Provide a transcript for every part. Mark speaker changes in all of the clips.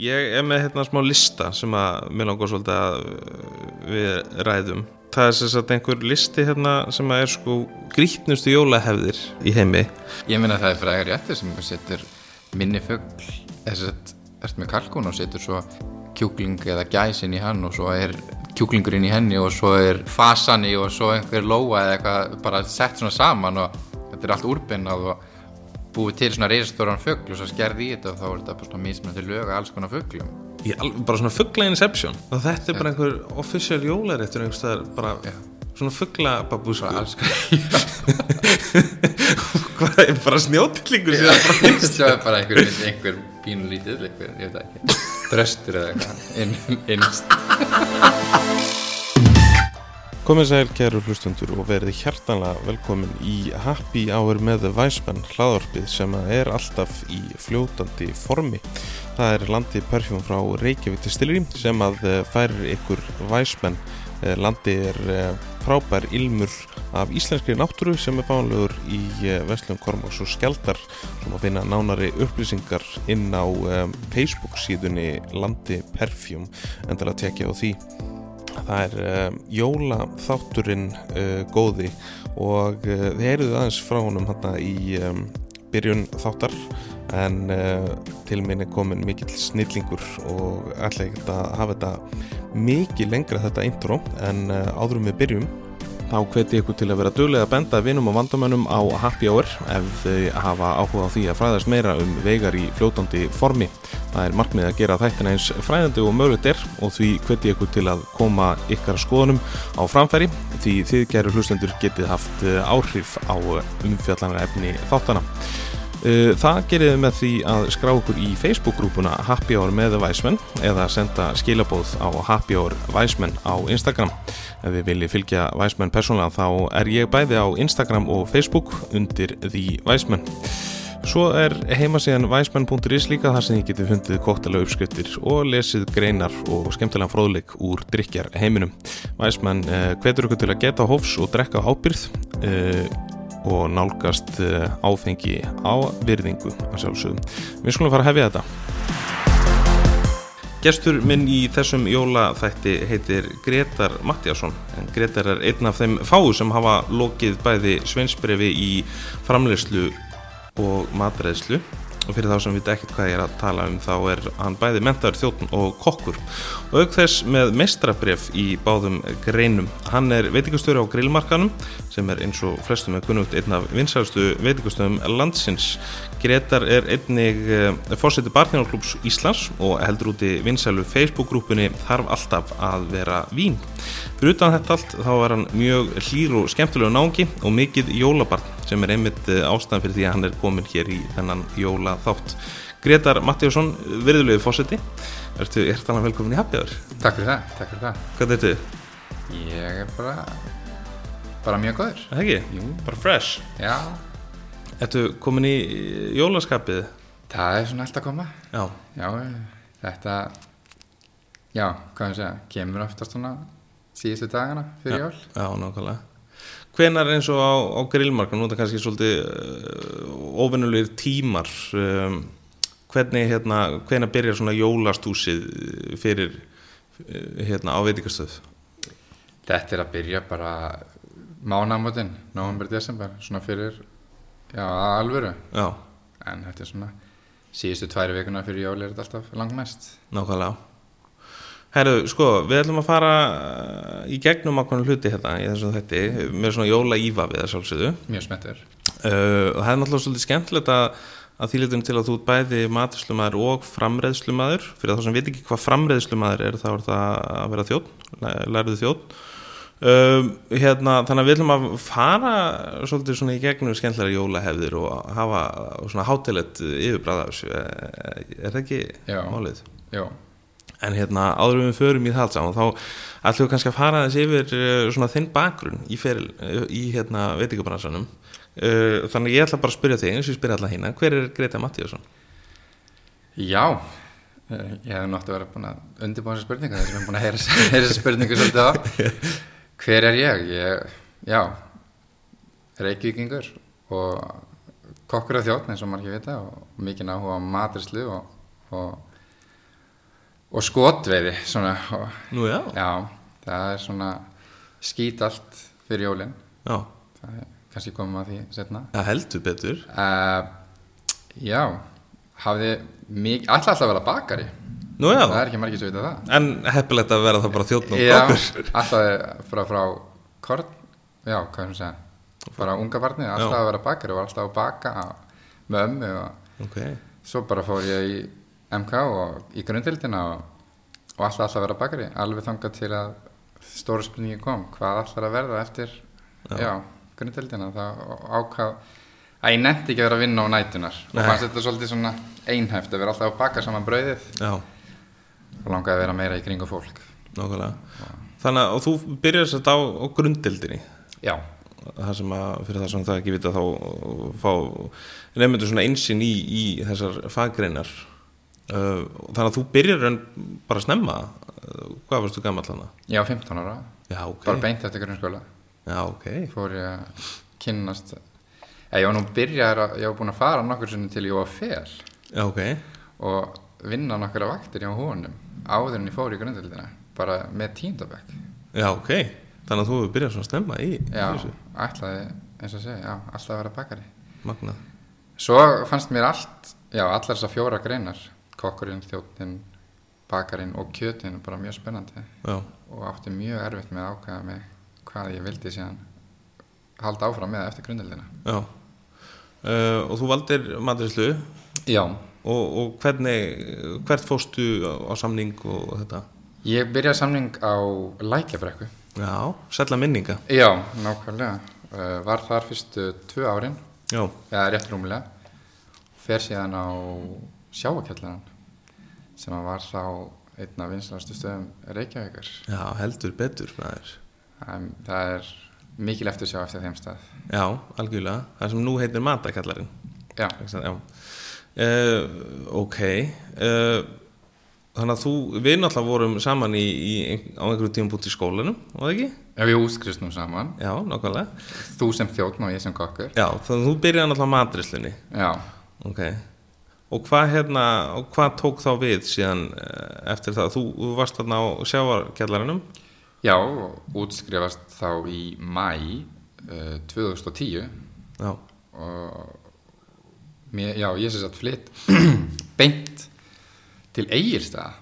Speaker 1: Ég er með hérna smá lista sem að mér langar svolítið að uh, við ræðum. Það er sem sagt einhver listi hérna sem að er sko grítnustu jólahefðir í heimi.
Speaker 2: Ég meina það er frægar réttir sem setur minni fugl þess að ert með kalkun og setur svo kjúkling eða gæsin í hann og svo er kjúklingurinn í henni og svo er fasani og svo einhver lóa eða eitthvað bara sett svona saman og þetta er allt úrbinnað og búið til svona reisastóran fugl og svo skerði í þetta og þá er þetta bara svona mismunandi lög að alls konar fuglum
Speaker 1: Ég, al- bara svona fuggla inception. Og þetta er bara einhver official jólaréttur einhvers staðar bara
Speaker 2: Já.
Speaker 1: svona fuggla babúsku.
Speaker 2: bara alls konar
Speaker 1: Hvað er bara snjótillingur síðan?
Speaker 2: svo er bara einhver, einhver pínulítið einhver, ég veit það ekki, dröstur eða eitthvað inn, innst
Speaker 1: Komið sæl kæru hlustundur og verið hjartanlega velkomin í Happy Hour með Væsmenn hlaðorpið sem að er alltaf í fljótandi formi. Það er landið perfjum frá Reykjavík til Stilri sem að eh, færir ykkur Væsmenn. Landið er eh, frábær ilmur af íslenskri náttúru sem er fánlegur í Vestlum Kormáks og Skjaldar sem að finna nánari upplýsingar inn á um, Facebook síðunni Landi Perfjum endala tekja á því það er um, jólaþátturinn uh, góði og uh, þið heyrðuð aðeins frá honum hérna í um, byrjun þáttar en uh, til minn er komin mikill snillingur og ætla ekki að hafa þetta mikið lengra þetta intro en uh, áðurum við byrjum þá hveti ykkur til að vera duglega að benda vinum og vandamönnum á Happy Hour ef þau hafa áhuga á því að fræðast meira um vegar í fljótandi formi. Það er markmið að gera þættina eins fræðandi og mögulegt er og því hveti ykkur til að koma ykkar skoðunum á framfæri því þið gerur hlustendur getið haft eh, áhrif á umfjallanar efni þáttana. Uh, Það gerir þið með því að skrá okkur í Facebook-grúpuna Happy Hour með Væsmenn eða senda skilabóð á Happy Hour Væsmenn á Instagram. Ef við viljið fylgja Væsmenn persónlega þá er ég bæði á Instagram og Facebook undir því Væsmenn. Svo er heimasíðan væsmenn.is líka þar sem þið getið fundið koktala uppskriftir og lesið greinar og skemmtilegan fróðleik úr drikjar heiminum. Væsmenn eh, hvetur ykkur til að geta hófs og drekka af ábyrgð eh, og nálgast eh, áfengi á virðingu að sjálfsögum. Við skulum fara að hefja þetta. Gestur minn í þessum jólaþætti heitir Gretar Mattiasson en Gretar er einn af þeim fáu sem hafa lokið bæði sveinsbrefi í framleyslu og matreðslu og fyrir þá sem við ekkert hvað ég er að tala um þá er hann bæði mentaður þjóttun og kokkur og auk þess með meistrabref í báðum greinum. Hann er veitingastjóri á grillmarkanum sem er eins og flestum er kunnugt einn af vinsælstu veitingastöðum landsins. Gretar er einnig eh, fórseti Barnjónklúps Íslands og heldur úti vinsælu Facebook-grúpunni þarf alltaf að vera vín. Fyrir utan þetta allt þá er hann mjög hlýr og skemmtilegu náungi og mikið jólabarn sem er einmitt eh, ástæðan fyrir því að hann er komin hér í þennan jóla þátt. Gretar Mattíasson, virðulegu fórseti, ertu hjertalega velkomin í Happjáður.
Speaker 2: Takk fyrir það, takk fyrir það
Speaker 1: Hvað ertu?
Speaker 2: Ég er bara bara mjög góður
Speaker 1: Það ekki? Jú. Bara fresh.
Speaker 2: Já,
Speaker 1: Ertu komin í jólaskapið?
Speaker 2: það er svona allt að koma
Speaker 1: Já.
Speaker 2: Já, þetta já, hvað ég segja, kemur oftast svona síðustu dagana fyrir jól
Speaker 1: Já, nákvæmlega. Hvenar eins og á, á grillmarkan, nú er það kannski svolítið uh, óvennulegir tímar, um, hvernig hérna, hvenar byrjar svona jólastúsið uh, fyrir uh, hérna á veitikastöð?
Speaker 2: Þetta er að byrja bara mánamótin, november, desember svona fyrir, já, að alvöru
Speaker 1: Já,
Speaker 2: en þetta er svona síðustu tværi vikuna fyrir jól er þetta alltaf langmest
Speaker 1: nákvæmlega. Herru, sko, við ætlum að fara uh, í gegnum ákveðan hluti hérna í þessum þetti, með svona jóla ífa við það sjálfsögðu.
Speaker 2: mjög smettur
Speaker 1: Uh, og það er náttúrulega svolítið skemmtilegt að, að því litum til að þú ert bæði matislumaður og framreiðslumaður fyrir þá sem veit ekki hvað framreiðslumaður er þá er það að vera þjótt læriðu þjótt um, hérna, þannig að við ætlum að fara svolítið svona í gegnum skemmtilega jólahefðir og hafa svona hátilegt yfirbræða þessu Eh, er það ekki
Speaker 2: Já.
Speaker 1: málið?
Speaker 2: Jó,
Speaker 1: En hérna áður en við förum í það allt saman þá ætlum við kannski að fara þessi yfir eh, svona þinn bakgrunn í, feril, eh, í hérna veitingabransanum Uh, þannig að ég ætla bara að spyrja þig eins og ég spyrja alla hérna, hver er Greta Mattíasson?
Speaker 2: Já, eh, ég hef náttúrulega verið búin að undirbúin þessar spurningar þessum ég er búin að heyra þessar- heyra þessar spurningar svolítið á. Hver er ég? ég já, reykvíkingur og kokkur af þjóttn eins og margir vita og mikið áhuga á matrislu og, og, og skotveiði svona, og,
Speaker 1: Nú já,
Speaker 2: já, það er svona skít allt fyrir jólin
Speaker 1: já,
Speaker 2: það er kannski komum að því setna
Speaker 1: það heldur betur
Speaker 2: uh, já hafði mikið, alltaf alltaf að vera bakari
Speaker 1: Nú
Speaker 2: það
Speaker 1: já,
Speaker 2: er ekki margir sem vita það
Speaker 1: en heppilegt að vera það bara þjóðn og
Speaker 2: já,
Speaker 1: bakur
Speaker 2: alltaf bara frá korn, já, hvað er það að segja bara unga barnið, alltaf
Speaker 1: Já.
Speaker 2: að vera bakari og var alltaf að baka með ömmu og
Speaker 1: Ok,
Speaker 2: svo bara fór ég í MK og í grundhildina og, og alltaf alltaf að vera bakari alveg þangað til að stóra spurningi kom hvað allar að verða eftir já, já grundhildina það ákvað að ég nefndi ekki að vera að vinna á nætunar
Speaker 1: Nei.
Speaker 2: og fannst þetta svolítið svona einhæft að vera alltaf að baka saman brauðið
Speaker 1: já,
Speaker 2: og langaði að vera meira í kringu fólk
Speaker 1: nákvæmlega Þannig að og þú byrjar þess að á, á grunddildinni
Speaker 2: já,
Speaker 1: það sem að fyrir það sem það ekki vita þá fá nefnendur svona einsinn í, í þessar faggreinar Uh, þannig að þú byrjar en bara að snemma Uh, hvað varstu gammal hana?
Speaker 2: ég var 15 ára
Speaker 1: Já, ok,
Speaker 2: bara beint eftir grunnskóla
Speaker 1: já, okay.
Speaker 2: fór ég að kynnast ég, ég var nú byrjar að, ég var búin að fara nokkur sinni til ég var fel
Speaker 1: Já, okay.
Speaker 2: og vinna nokkra vaktir hjá honum áður en ég fór í grundvildina bara með tíndabæk
Speaker 1: já, ok þannig að þú hefur byrjað svona að snemma í í
Speaker 2: já,
Speaker 1: þessu.
Speaker 2: ætlaði, eins og segja, já, alltaf að vera bakari
Speaker 1: magnað
Speaker 2: svo fannst mér allt, já, allar þessar fjóra greinar kokkurinn, þjóttinn, bakarinn og kjötinn bara mjög spennandi
Speaker 1: já,
Speaker 2: og átti mjög erfitt með að ákveða með hvað ég vildi síðan halda áfram með eftir grundvildina
Speaker 1: já uh, og þú valdir matrislu og,
Speaker 2: já,
Speaker 1: og hvernig, hvert fórstu á, á samning og þetta
Speaker 2: ég byrjaði samning á lækjabrekku
Speaker 1: já, sætla minninga
Speaker 2: já, nákvæmlega Eh, var þar fyrstu tvö árin
Speaker 1: já,
Speaker 2: eða rétt rúmlega fer síðan á sjáakjallaran sem að var þá einn af vinslastu stöðum Reykjavíkur
Speaker 1: já heldur betur maður
Speaker 2: það er- það er mikil eftir sjá eftir þeim stað
Speaker 1: Já, algjörlega. Það sem nú heitir matakallarinn.
Speaker 2: já,
Speaker 1: ekki satt? Já. Uh, ok. Uh, þannig að þú, við náttúrulega vorum saman í, í, ein- á einhverju tíum búti í skólanum, var það ekki?
Speaker 2: ef ég útskrist nú saman
Speaker 1: Já, nákvæmlega.
Speaker 2: þú sem þjóttn og ég sem kokkur
Speaker 1: Já, þannig að þú byrjaði náttúrulega matrislunni.
Speaker 2: já,
Speaker 1: Ok. Og hvað hérna, og hvað tók þá við síðan uh, eftir það? Þú, þú varst þarna á sjávarkjallarinnum?
Speaker 2: já og útskrifast þá í mæ uh, 2010
Speaker 1: Já.
Speaker 2: og mér, já, ég sem sagt flytt beint til eigirstað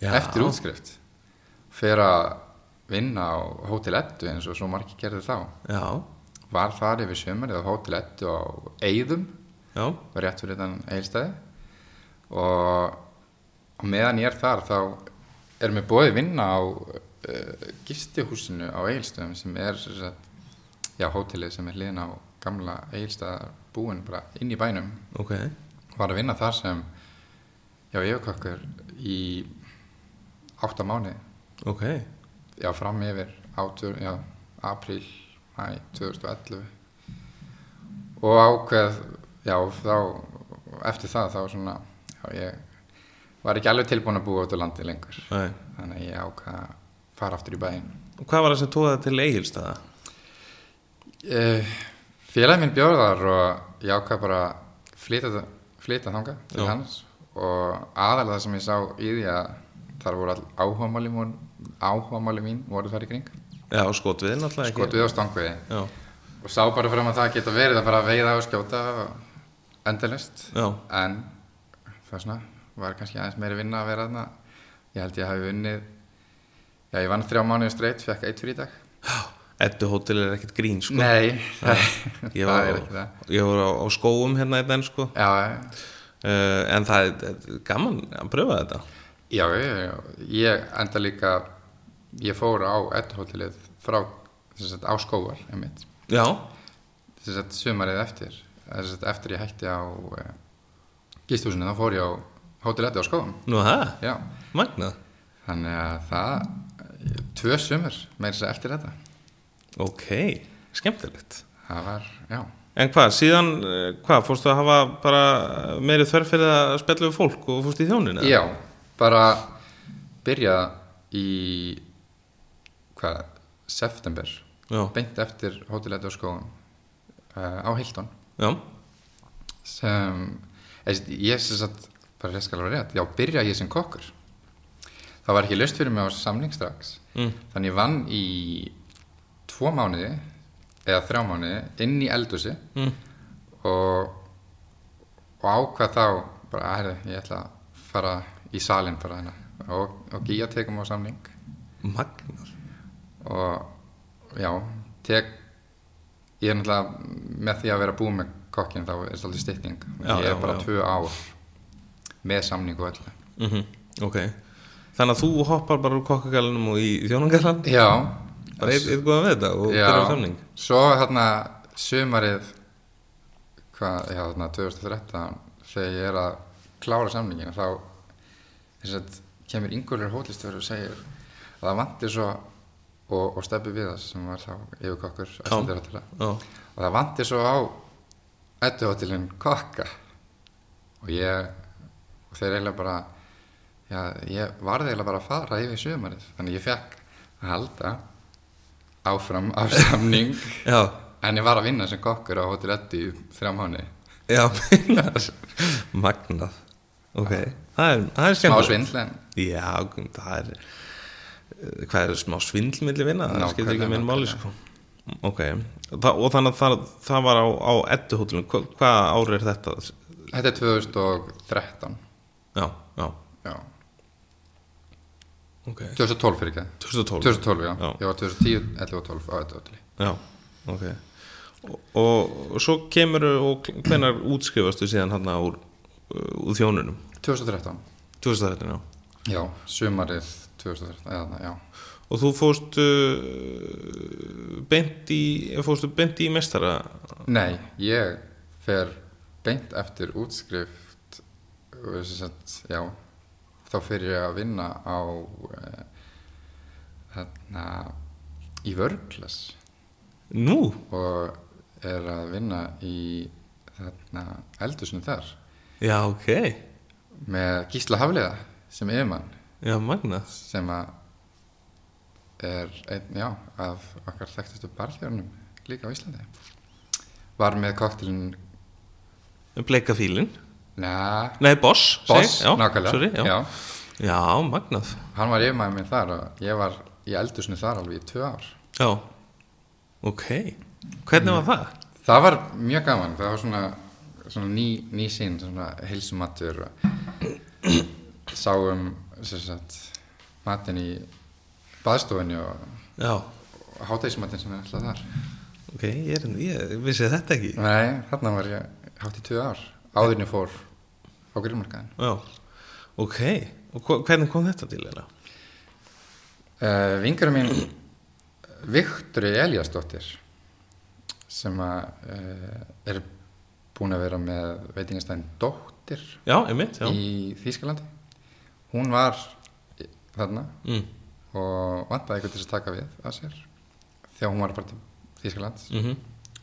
Speaker 1: Já.
Speaker 2: eftir útskrift fer að vinna á Hotel Eddu eins og svo margir gerði þá
Speaker 1: Já.
Speaker 2: var þar yfir sömarið á Hotel Eddu á Eyðum
Speaker 1: Já.
Speaker 2: var rétt fyrir þann Egilstaði og, og meðan ég er þar þá er mér bóðið vinna á uh, gistihúsinu á Egilstöðum sem er sem sagt, já, hótelið sem er liðin á gamla Egilstaðar búin bara inn í bænum
Speaker 1: Ok.
Speaker 2: var að vinna þar sem já, yfirkokkur í átta mánuði
Speaker 1: Ok.
Speaker 2: já, fram yfir átur, já, apríl mæ 2011 og ákveð já, þá eftir það þá svona, já, ég var ekki alveg tilbúin að búa út á landi lengur
Speaker 1: Nei.
Speaker 2: þannig að ég ákveð að fara aftur í bæinn
Speaker 1: Og Hvað var það sem tóða til eigilstaða?
Speaker 2: uh, félagi minn bjóð þar og ég ákvað bara að flytja, flytja þangað til
Speaker 1: Já.
Speaker 2: hans og aðalega það sem ég sá í því að þar voru all áhugamáli mín, áhugamáli mín voru þar í kring
Speaker 1: Já, skotvið náttúrulega ekki.
Speaker 2: skotuð á stangveiði
Speaker 1: Já,
Speaker 2: og sá bara fram að það geta verið að bara veiða og skjóta og endalist
Speaker 1: já,
Speaker 2: en það var svona var kannski aðeins meiri vinna að vera þarna ég held ég hafi vunnið já ég vann þrjá mánuði streitt, fekk eitt frídag
Speaker 1: Eddu hótel er ekkert grín sko
Speaker 2: nei,
Speaker 1: Ég
Speaker 2: það
Speaker 1: var,
Speaker 2: er
Speaker 1: á,
Speaker 2: ekki það
Speaker 1: ég var á, á skóum hérna einn enn sko uh,
Speaker 2: já, já
Speaker 1: En það er, er gaman að pröfa þetta
Speaker 2: Já, já, já, já. ég enda líka ég fór á etthótelið frá sem sagt, á skóvar einmitt,
Speaker 1: Já,
Speaker 2: sem sagt sumarið eftir eða sem sagt, eftir ég hætti á e, gistúsinu þá fór ég á hótel ettu á skóðum
Speaker 1: nú það,
Speaker 2: já,
Speaker 1: magnað
Speaker 2: þannig að það eh, tvö sumur meira þess að eftir þetta
Speaker 1: Ok, skemmtilegt
Speaker 2: það var, já,
Speaker 1: En hvað, síðan, eh, hvað, fórstu að hafa bara meiri þörf fyrir að spjalla við fólk og fórstu í þjónina?
Speaker 2: já bara byrja í hvað, september
Speaker 1: Já,
Speaker 2: beint eftir hótel ettu á skóðum á Hilton
Speaker 1: já,
Speaker 2: sem eða, sem sagt, ég sem sagt bara ég skal vera rétt, já, byrja ég sem kokkur það var ekki löst fyrir mig á samning strax
Speaker 1: Mm.
Speaker 2: þannig ég vann í tvo mánuði eða þrjá mánuði inn í eldhúsi
Speaker 1: Mm.
Speaker 2: og, og ákvað þá bara, herri, ég ætla að fara í salin bara hérna og, og Gíja tekum á samning
Speaker 1: Magnus
Speaker 2: og já, tek ég er náttúrulega með því að vera búið með kokkin þá er þetta aldrei stytting
Speaker 1: Já,
Speaker 2: ég
Speaker 1: já,
Speaker 2: er bara
Speaker 1: já.
Speaker 2: tvö ár með samning og öllu
Speaker 1: mm Ok Þannig að þú hoppar bara úr kokkagallinum og í þjónangallan
Speaker 2: já,
Speaker 1: bara eitt eitt góðan við þetta og byrjar á samning
Speaker 2: svo þarna sömarið hvað, já hérna, þarna 2013 þegar ég er að klára samningin þá þess að kemur yngurlur hótlistverður og segir að það vantir svo og, og steppi við það sem var þá yfirkokkur æslandirhóttela
Speaker 1: Já,
Speaker 2: og það vantir svo á ættuhóttilinn kokka og ég og þeir eiginlega bara já, ég varði eiginlega bara að fara yfir sömarið þannig ég fekk að halda áfram af samning
Speaker 1: já,
Speaker 2: en ég var að vinna sem kokkur á Hotel Eddu í þrjá mánu
Speaker 1: já meinar. Magnað Ok, það er, það er
Speaker 2: smá
Speaker 1: skemmtilegt.
Speaker 2: svindl en
Speaker 1: Já, það er eh, hvað er smá svindl milli vinna það
Speaker 2: Nákvæmlega,
Speaker 1: skiptir ekki minn máli
Speaker 2: nákvæmlega.
Speaker 1: sko. ok, Þa, og þannig að það, það var á, á edduhóttunum, Hva, hvað ári er þetta
Speaker 2: þetta er 2013
Speaker 1: já, já,
Speaker 2: já,
Speaker 1: ok
Speaker 2: 2012 fyrir ekki
Speaker 1: 2012,
Speaker 2: 2012 já,
Speaker 1: Já.
Speaker 2: ég var 2010, 11 og 12 á Eddu Hotel
Speaker 1: já, ok og, og svo kemur og hvenar útskrifastu síðan hann úr, eh, úr þjónunum
Speaker 2: 2013
Speaker 1: 2013, já
Speaker 2: já, sumarið 2013 eða, já,
Speaker 1: og þú fórst uh, beint í fórstu beint í mestara
Speaker 2: nei, ég fer beint eftir útskrift og þess að, já þá fyrir ég að vinna á eh, þarna í vörglas
Speaker 1: nú,
Speaker 2: og er að vinna í þarna eldusinu þar
Speaker 1: já, ok
Speaker 2: með Gísla Hafliða sem yfirmann
Speaker 1: já, magnað
Speaker 2: sem að er einn, já, af okkar þekktustu barþjörnum líka á Íslandi var með koktelin
Speaker 1: Bleika fílinn
Speaker 2: na,
Speaker 1: Nei, Boss
Speaker 2: Boss,
Speaker 1: seg- já,
Speaker 2: nákvæmlega
Speaker 1: sorry, já. Já.
Speaker 2: Já,
Speaker 1: magnað
Speaker 2: hann var yfirmann minn þar og ég var í eldusinu þar alveg í tvö ár
Speaker 1: Já, ok Hvernig var það?
Speaker 2: það var mjög gaman það var svona, svona ný, ný sín svona heilsumattur og sáum sem sagt, matin í baðstofinni og
Speaker 1: Já,
Speaker 2: hátægismatin sem er alltaf þar
Speaker 1: ok, ég, er, ég vissi þetta ekki
Speaker 2: nei, þarna var ég hátt í tvö ár áðurinn ég fór á grillmarkaðin
Speaker 1: Já, ok Og hva- hvernig kom þetta til þeirra?
Speaker 2: uh, vingurum mín Viktori Eliasdóttir sem að uh, er búin að vera með veitingastæðin Dóttir
Speaker 1: Já, einmitt, já
Speaker 2: í Þýskalandi hún var í- þarna
Speaker 1: mm.
Speaker 2: og vantaði eitthvað til þess að taka við að sér þegar hún var bara til Þýskaland
Speaker 1: Mm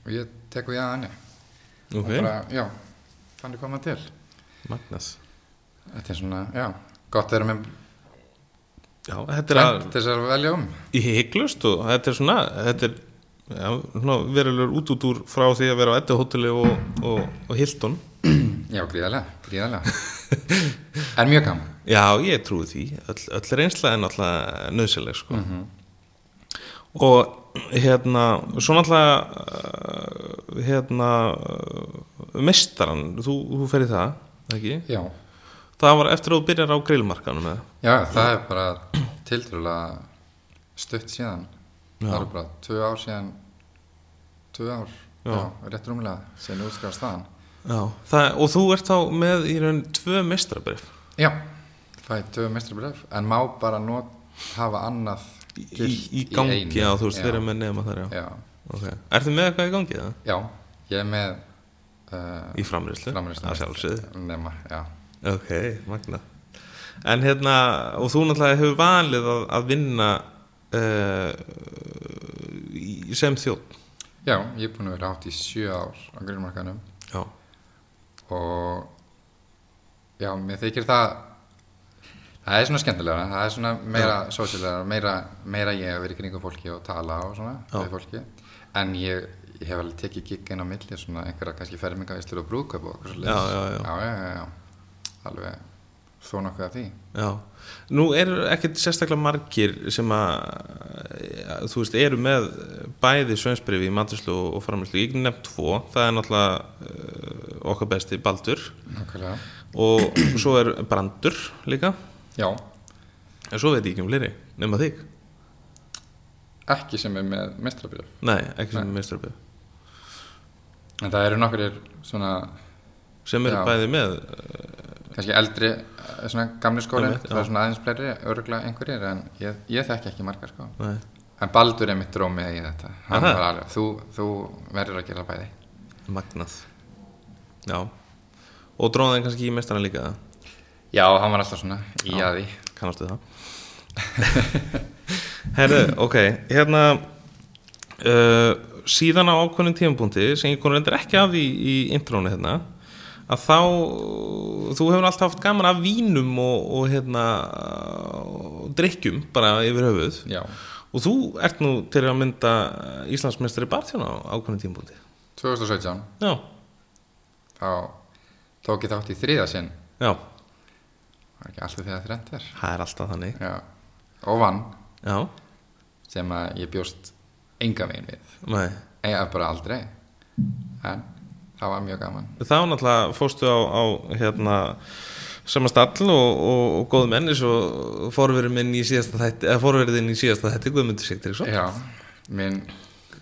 Speaker 2: og ég tek við að henni
Speaker 1: Ok,
Speaker 2: og bara, já, þannig kom hann til
Speaker 1: magnað
Speaker 2: þetta er svona, já, gott að vera með
Speaker 1: Já, þetta er
Speaker 2: trend
Speaker 1: að
Speaker 2: til þess að velja um
Speaker 1: í hygglust og þetta er svona þetta er já, svona verulegur út út úr frá því að vera á Edda hóteli og, og, og Hilton
Speaker 2: já, gríðarlega, gríðarlega en mjög gaman
Speaker 1: Já, ég trúi því. Öll, öll reynsla er náttúrulega nöðsileg, sko. Og hérna, svo náttúrulega, uh, hérna, uh, mestaran, þú, þú fer í það, ekki?
Speaker 2: já,
Speaker 1: Það var eftir að þú byrjar á grillmarkanum, eða?
Speaker 2: já, það er bara tiltrúlega stutt síðan
Speaker 1: Já.
Speaker 2: það er bara tvö ár síðan tvö ár,
Speaker 1: Já.
Speaker 2: já, rétt rúmlega síðan útskjáð staðan
Speaker 1: Já. Það, og þú ert þá með í raun tvö mestarabrif.
Speaker 2: Já, fæ tvö mestrabref en má bara not, hafa annað
Speaker 1: Í,
Speaker 2: gilt
Speaker 1: í gangi,
Speaker 2: einu.
Speaker 1: já, þú veist,
Speaker 2: já,
Speaker 1: þeirra með nema þar, já.
Speaker 2: já.
Speaker 1: Ok. Er þið með eitthvað í gangi, eða?
Speaker 2: já, ég er með uh,
Speaker 1: Í framriðslu?
Speaker 2: framreisn
Speaker 1: Að sjálfsögðu.
Speaker 2: nema, já.
Speaker 1: Ok, magna En hérna, og þú náttúrulega hefur valið að, að vinna uh, í- sem þjótt
Speaker 2: já, ég er búin að vera átt í sjö ár á grillmarkanum
Speaker 1: Já,
Speaker 2: og já, mér þykir það það er svona skemmtilega það er svona meira sósilega meira, meira ég að vera í kringum fólki og tala og svona
Speaker 1: Já.
Speaker 2: við fólki en ég, ég hef alveg tekið gig inn á milli svona einhverja kannski ferminga og brúðkaup og eitthvað svo
Speaker 1: Já, já, já.
Speaker 2: já, já, já, já. alveg þó nokkuð af því
Speaker 1: Já, nú eru ekkert sérstaklega margir sem að ja, þú veist, eru með bæði sveinsbrifi í maturslu og framherslu ég nefn tvo, það er náttúrulega uh, okkar besti Baldur
Speaker 2: Nákvæmlega.
Speaker 1: og svo er Brandur líka,
Speaker 2: Já,
Speaker 1: en svo veit ég ekki um fleiri nema þig,
Speaker 2: ekki sem er með mestrabjöf
Speaker 1: nei, ekki sem mestrarbið
Speaker 2: En það eru nokkur svona
Speaker 1: sem eru
Speaker 2: Já.
Speaker 1: bæði með
Speaker 2: kannski eldri, eh, svona gamli skólinn
Speaker 1: Einmitt,
Speaker 2: það
Speaker 1: já.
Speaker 2: er svona aðeins fleiri, örgulega einhverjir en ég, ég þekki ekki margar sko
Speaker 1: nei.
Speaker 2: en Baldur er mitt drómið í þetta hann
Speaker 1: Aha.
Speaker 2: var alveg, þú, þú verður að gera bæði
Speaker 1: magnað já, og drónaði kannski í mestrana líka
Speaker 2: já, hann var alltaf svona í að því
Speaker 1: kannastu það herru, ok hérna uh, síðan á ákveðnum tímapunkti sem ég konur endur ekki af í, í intrónu hérna að þá þú hefur alltaf haft gaman af vínum og, og hérna og drikkjum bara yfir höfuð
Speaker 2: já,
Speaker 1: og þú ert nú til að mynda Íslandsmeistari barþjóna á ákveðnum tímapunkti
Speaker 2: 2017
Speaker 1: já,
Speaker 2: þá tók ég þátt í þriða sinn
Speaker 1: já,
Speaker 2: var ekki alltaf þegar þrennt er
Speaker 1: það er alltaf þannig
Speaker 2: já. og vann
Speaker 1: já,
Speaker 2: sem að ég bjóst enga veginn við
Speaker 1: nei
Speaker 2: eða bara aldrei en það var mjög gaman
Speaker 1: þá náttúrulega fórstu á, á hérna samastall og, og, og góð menn eins og forverið minn í síðasta þætti eða forverðin í síðasta þætti Guðmundur Sigtryggsson
Speaker 2: já, minn,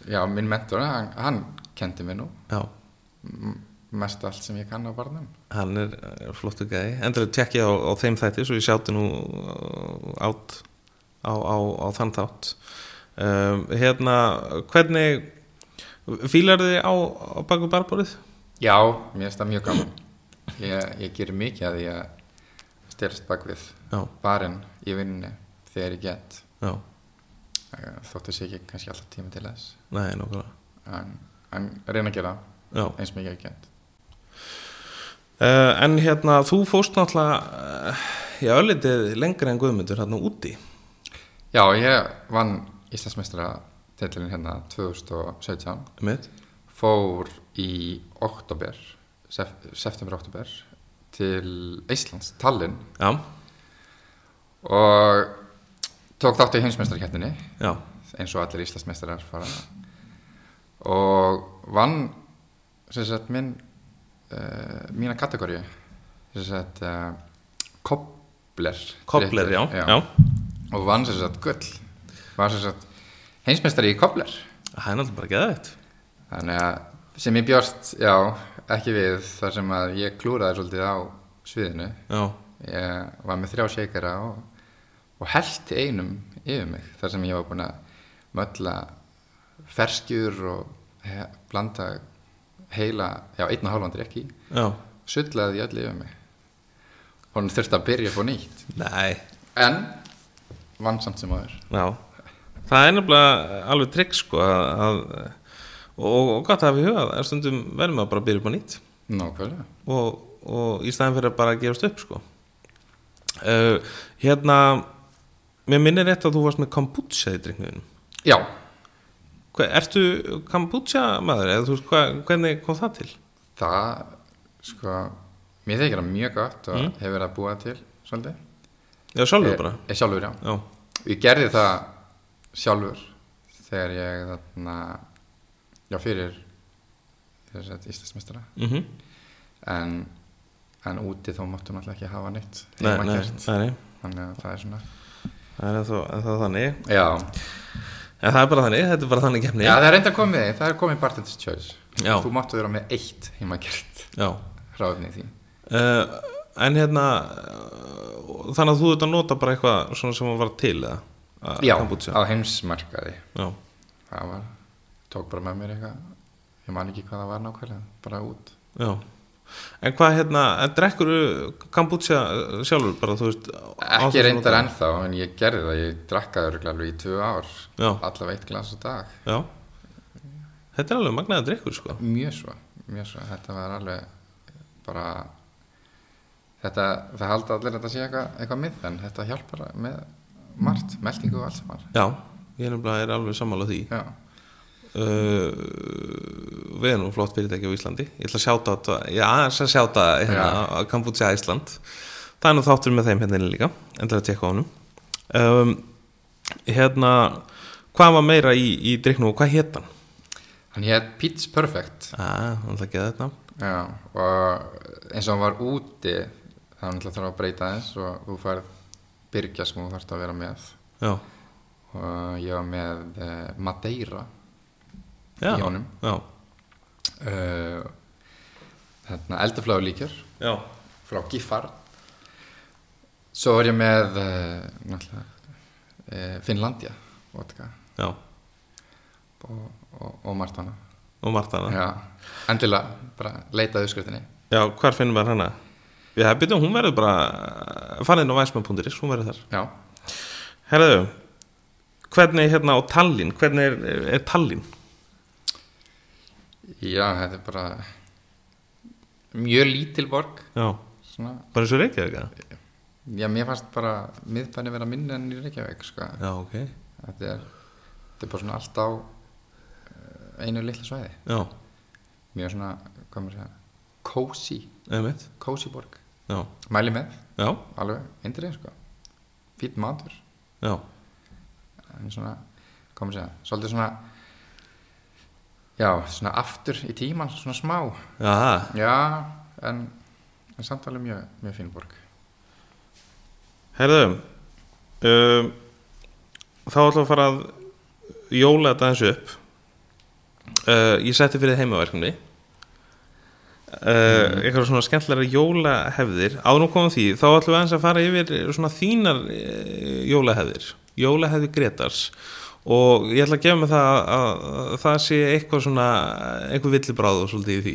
Speaker 2: já, minn mentor hann, hann kendi mér nú
Speaker 1: já,
Speaker 2: mest allt sem ég kann á barnum
Speaker 1: hann er, er flottu gæði endilega tjekkið á, á þeim þætti svo ég sjátti nú uh, átt á, á, á þann þátt um, hérna, hvernig fílar þið á, á baku barborið?
Speaker 2: já, mér finnst það mjög gaman ég, ég gerir mikið að ég styrst bak við
Speaker 1: Já.
Speaker 2: barinn í vinnunni þegar ég get
Speaker 1: já,
Speaker 2: Eh, þóttu sé ekki kannski alltaf tíma til þess
Speaker 1: nei, nokkulega
Speaker 2: en, en reyna að gera
Speaker 1: já
Speaker 2: eins mikið að ég get
Speaker 1: Uh, en hérna, þú fórst náttúrulega uh, já, öllitið lengri en Guðmundur hérna úti
Speaker 2: já, ég vann Íslandsmeistra titlinn hérna 2017
Speaker 1: mitt,
Speaker 2: fór í oktober sef, september-oktober til Íslands, Tallinn
Speaker 1: já,
Speaker 2: og tók þátt í heimsmeistarkettinni
Speaker 1: já,
Speaker 2: eins og allir Íslandsmeistarar fara og vann sem sagt minn uh, mína kategóri sem sagt uh, Kobler
Speaker 1: Kobler, já, já,
Speaker 2: og vann sem sagt gull var sem sagt heimsmeistari í Kobler
Speaker 1: það er náttúrulega bara geðvægt
Speaker 2: Þannig að sem ég bjóst, já, ekki við þar sem að ég klúraði svolítið á sviðinu.
Speaker 1: já,
Speaker 2: Ég var með þrjá shakera og, og held einum yfir mig þar sem ég var búin að mölla ferskjur og he, blanda heila, já, einn og hálfan drekki,
Speaker 1: já,
Speaker 2: sullaði ég öll yfir mig. Hún þurfti að byrja upp á nýtt.
Speaker 1: nei
Speaker 2: En vann samt sem áður.
Speaker 1: já, það er nefnilega alveg trygg sko að, að og, og gott að hafa í huga það er stundum vel með að bara byrja upp á nýtt
Speaker 2: Nákvæmlega.
Speaker 1: og, og í staðin fyrir að bara gefast upp sko uh, hérna mér minnir rétt að þú varst með kombucha í drengunum
Speaker 2: Já,
Speaker 1: Hva, ertu kombucha maður eða þú veist hva, hvernig kom það til?
Speaker 2: það, sko, mér þykir það mjög gott og hefur verið að búa til svolítið.
Speaker 1: Já, Mm. sjálfur
Speaker 2: Ég-
Speaker 1: bara
Speaker 2: Ég sjálfur, já.
Speaker 1: Já,
Speaker 2: Ég gerði það sjálfur þegar ég þarna, já, fyrir þess að Íslandsmeistara.
Speaker 1: mm
Speaker 2: En, en úti þá máttum alltaf ekki hafa neitt.
Speaker 1: nei, nei,
Speaker 2: heimagert.
Speaker 1: nei, nei,
Speaker 2: Þannig að það er svona,
Speaker 1: það er ennþá, ennþá þannig
Speaker 2: já.
Speaker 1: En það er bara þannig, þetta er bara þannig kemni
Speaker 2: Já, það er enda komið, það er komið Bartend's Choice.
Speaker 1: Já.
Speaker 2: Þú máttu vera með eitt heimagert
Speaker 1: Já.
Speaker 2: ráðni í því.
Speaker 1: Uh, En hérna uh, Þannig að þú ert að nota bara eitthvað svona sem var til eða að-
Speaker 2: Já,
Speaker 1: kombucha.
Speaker 2: á heimsmarkaði.
Speaker 1: Já,
Speaker 2: það var, tók bara með mér eitthvað ég man ekki hvað það var nákvæmlega bara út
Speaker 1: já En hvað hérna, en drekkur kombucha sjálfur bara, þú veist á
Speaker 2: ekki
Speaker 1: þessum
Speaker 2: reyndar
Speaker 1: nótum?
Speaker 2: ennþá, en ég gerði það ég drakkaði örgulega alveg í tvö ár
Speaker 1: Já.
Speaker 2: allavega eitt glas á dag
Speaker 1: Já Þetta er alveg magnaða drekkur sko
Speaker 2: mjög svo, mjög svo, þetta var alveg bara þetta, það halda allir að þetta sé eitthvað, eitthvað mið, en þetta hjálpar með margt, meldingu og allt saman
Speaker 1: Já, ég er nefnilega er alveg sammála því
Speaker 2: já,
Speaker 1: uh, við erum nú flott fyrirtæki á Íslandi ég ætla að sjáta á þetta já, þess að sjáta hérna,
Speaker 2: Já.
Speaker 1: að Kambútsja Ísland það er nú þáttur með þeim hérna inni líka endilega að tekka á honum um, hérna hvað var meira í, í driknum og hvað hétt hann?
Speaker 2: Hann hétt Pete's Perfect
Speaker 1: Ah, hann ætla ekki að þetta
Speaker 2: Já, og eins og hann var úti þá hann ætla þarf að breyta þess og þú færð byrgja sem þú þarfst að vera með
Speaker 1: Já,
Speaker 2: og ég var með uh, Madeira
Speaker 1: já,
Speaker 2: Í honum.
Speaker 1: já,
Speaker 2: uh, hérna, eldafláðu líkjör
Speaker 1: já,
Speaker 2: frá Giffard svo var ég með uh, náttúrulega uh, Finnlandia vodka
Speaker 1: já
Speaker 2: og, og, og margt hana
Speaker 1: og margt hana
Speaker 2: Já, endilega bara leitaðu skriftinni
Speaker 1: Já, hvar finnum við hana? Já, byrjum, hún verður bara farin á væsmann.is, hún verður þar
Speaker 2: Já,
Speaker 1: Herðu, hvernig er hérna á tallinn, hvernig er, er, er tallinn?
Speaker 2: já, þetta er bara mjög lítil borg
Speaker 1: Já,
Speaker 2: svona,
Speaker 1: bara eins og reykjaðu ekki?
Speaker 2: já, mér fannst bara miðbæni vera minni enn í Reykjavík sko.
Speaker 1: Já, ok
Speaker 2: þetta, er, þetta er bara svona allt á eh, einu litla svæði
Speaker 1: Já,
Speaker 2: mjög svona, hvað maður segja cozy,
Speaker 1: einmitt,
Speaker 2: cozy borg
Speaker 1: já,
Speaker 2: mæli með,
Speaker 1: já,
Speaker 2: alveg indrið sko. fýtt matur
Speaker 1: já
Speaker 2: en svona, hvað maður segja svolítið svona já, svona aftur í tíman svona smá,
Speaker 1: Já,
Speaker 2: já en, en samt alveg mjög, mjög fín borg
Speaker 1: herðu um, Þá ætlum við að fara að jóla þetta eins upp uh, Ég setti fyrir þið heimaverkefni uh, Eitthvað svona skemmtlara jólahefðir Árum komum því, þá ætlum við aðeins að fara yfir svona þínar eh, jólahefðir Jólahefði Gretars Og ég ætla að gefa mig það að, að, að það sé eitthvað svona, eitthvað villibráð og svolítið í því.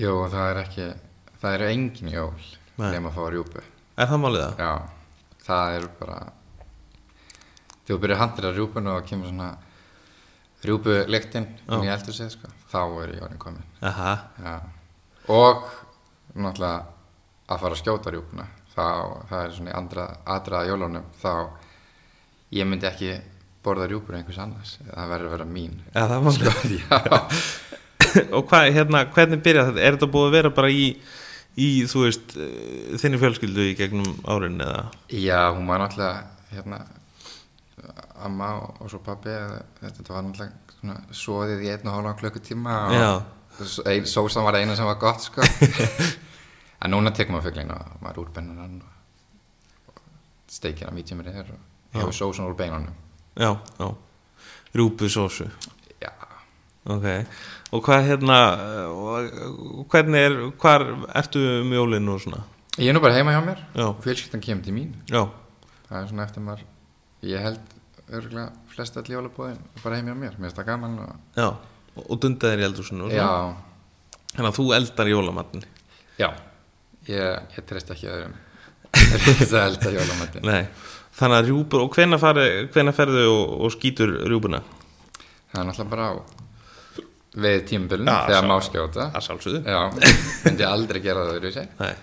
Speaker 2: jú, það er ekki það eru engin jól
Speaker 1: Nei.
Speaker 2: nema að fá rjúpu
Speaker 1: Er það málið það?
Speaker 2: já, það er bara þegar þú byrjar að handra rjúpuna og kemur svona rjúpu lyktin inn í eldur sig sko, þá er jólinn komin
Speaker 1: Aha,
Speaker 2: Já. og náttúrulega að fara að skjóta rjúpuna þá, það er svona í andra, aðdraða jólunum þá ég myndi ekki borða rjúpuna einhvers annars það verður að vera mín
Speaker 1: er það málið?
Speaker 2: já,
Speaker 1: Sko, og hvað, hérna, hvernig byrja þetta? Er þetta búið að vera bara í, í þú veist, eh, þinni fjölskyldu í gegnum árin eða?
Speaker 2: já, hún var náttúrulega hérna, amma og, og svo pappi þetta var náttúrulega svona, soðið í einn og hálfan klukkutíma
Speaker 1: Já.
Speaker 2: og s- ein- sósan var eina sem var gott sko. en núna tekur maður fuglin og maður úrbennur hann og, og steikir hann mítjumir eður og hefur sósan úr beinunum
Speaker 1: Já, já, rúpu sósu.
Speaker 2: Já,
Speaker 1: Ok, og hvað hérna, eh, og hvernig er, hvar ertu um jólinn og svona?
Speaker 2: ég er nú bara heima hjá mér
Speaker 1: Já.
Speaker 2: Fjölskyldan kemur til mín
Speaker 1: Já,
Speaker 2: Það er svona eftir maður Ég held örgulega flest öll jólabóðin bara heima hjá mér, mér finnst það gaman og...
Speaker 1: já, og, og dundaðir í eldhúsinu og
Speaker 2: Já,
Speaker 1: svona. Þannig að þú eldar jólamatni.
Speaker 2: já Ég, ég treyst ekki öðrum Það er held að jólamættin
Speaker 1: Nei, þannig að rjúpur, og hvenær fari, hvenær ferðu og, og skýtur rjúpuna?
Speaker 2: Það er náttúrulega bara á Veið tímbilin
Speaker 1: Já,
Speaker 2: þegar
Speaker 1: sá-
Speaker 2: má skjóta
Speaker 1: Það sálsögðu.
Speaker 2: Já, myndi aldrei gera það öðru sér
Speaker 1: Nei,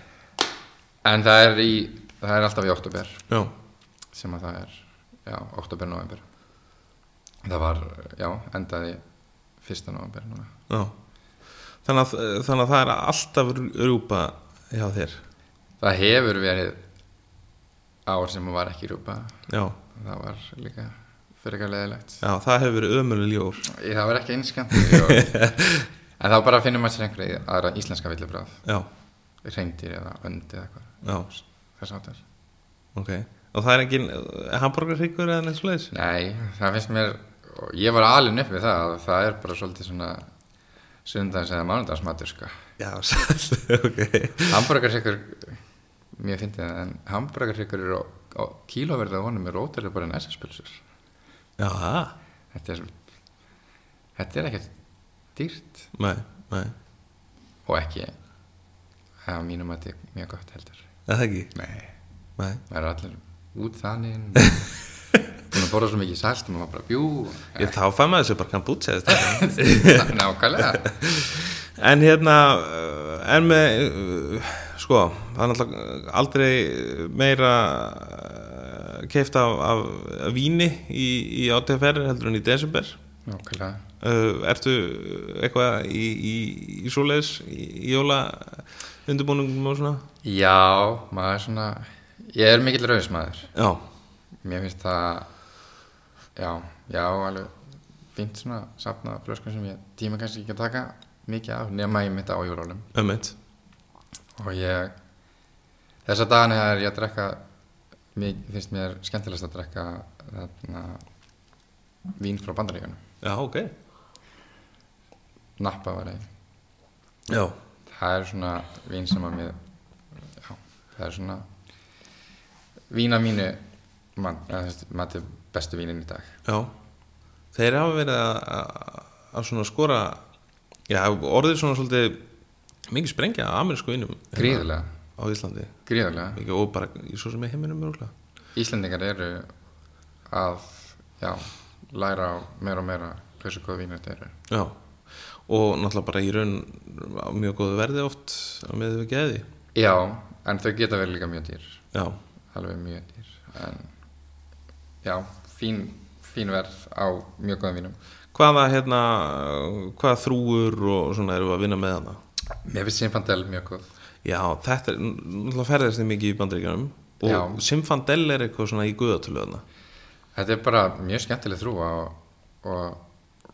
Speaker 2: En það er, í, það er alltaf í oktober
Speaker 1: já,
Speaker 2: sem að það er já, oktober, november það var, já, endaði fyrsta november núna
Speaker 1: Já Þannig að, þannig að það er alltaf rjúpa hjá þér
Speaker 2: það hefur verið ár sem var ekki rjúpa
Speaker 1: Já,
Speaker 2: það var líka fyrir ekki leðilegt
Speaker 1: já það hefur verið ömuleg ljól
Speaker 2: Ég- það var ekki einskant en þá bara finnum maður sér einhverja aðra íslenska villibráð
Speaker 1: Já,
Speaker 2: reyndir eða öndi eða eitthvað
Speaker 1: já,
Speaker 2: þess áttar
Speaker 1: ok Og það er engin hambúrgarhryggur eða neins leis
Speaker 2: nei, það finnst mér og ég var alin upp við það að það er bara svolítið svona sundags eða mánudagsmatur sko
Speaker 1: Já, sæll, ok
Speaker 2: Hamburgerhryggur Mér finnst það en hamburgerhryggur eru á, á kílóverðið á honum er ótrúlega bara en SS-pilsur
Speaker 1: Já, ha.
Speaker 2: Þetta er Þetta er ekkert dýrt
Speaker 1: nei, nei
Speaker 2: og ekki að mínum að þetta er mjög gott heldur
Speaker 1: Er Það ekki,
Speaker 2: Nei
Speaker 1: nei
Speaker 2: Það eru allir út þannig Búin að borða svo mikið salt og maður bara bjú
Speaker 1: Ég þá fæ maður þessu bara kambútsi
Speaker 2: Nákvæmlega
Speaker 1: En hérna, eh, en með eh, Sko, það er náttúrulega eh, aldrei meira keift af, af, af víni í, í ATFR heldur en í desember
Speaker 2: Nákvæmlega
Speaker 1: Uh, ertu eitthvað í, í, í svoleiðis í, í jóla undirbúningum og svona?
Speaker 2: Já, maður er svona Ég er mikill rauðismæður
Speaker 1: Já,
Speaker 2: Mér finnst það Já, já, alveg fínt svona safna flöskum sem ég tíma kannski ekki að taka mikið af nema ég mitt á jólólum
Speaker 1: ömmit
Speaker 2: og ég þessa dagana er ég að drekka mér finnst mér skemmtilegast að drekka þarna vín frá bandaríkanum
Speaker 1: Já, ok
Speaker 2: nappa var einn
Speaker 1: Já,
Speaker 2: það er svona vín sem að mér já, það er svona vín að mínu mann, eða þú veist, mati bestu vínin í dag
Speaker 1: já Þeir hafa verið að, að- að svona skora Já, orðið svona svolítið mikið sprengja af amerísku vinnum
Speaker 2: gríðarlega,
Speaker 1: á Íslandi
Speaker 2: gríðarlega
Speaker 1: Mikið, og bara í svo sem er heiminum örgulega
Speaker 2: Íslendingar eru að já, læra á meira og meira hversu góð vínur þetta eru
Speaker 1: Já, og náttúrulega bara í raun á mjög góðu verði oft að með við geði
Speaker 2: já, en þau geta verið líka mjög dýr
Speaker 1: Já,
Speaker 2: alveg mjög dýr en já, fín, fín verð á mjög góðum vínum
Speaker 1: hvaða hérna hvaða þrúur og svona erum við að vinna með hana
Speaker 2: mér finnst Sinfandel mjög góð
Speaker 1: Já, þetta er, náttúrulega ferðast þið mikið í bandaríkjunum og
Speaker 2: Já.
Speaker 1: Simfandel er eitthvað svona í guðatöluðana
Speaker 2: Þetta er bara mjög skemmtileg þrúa og, og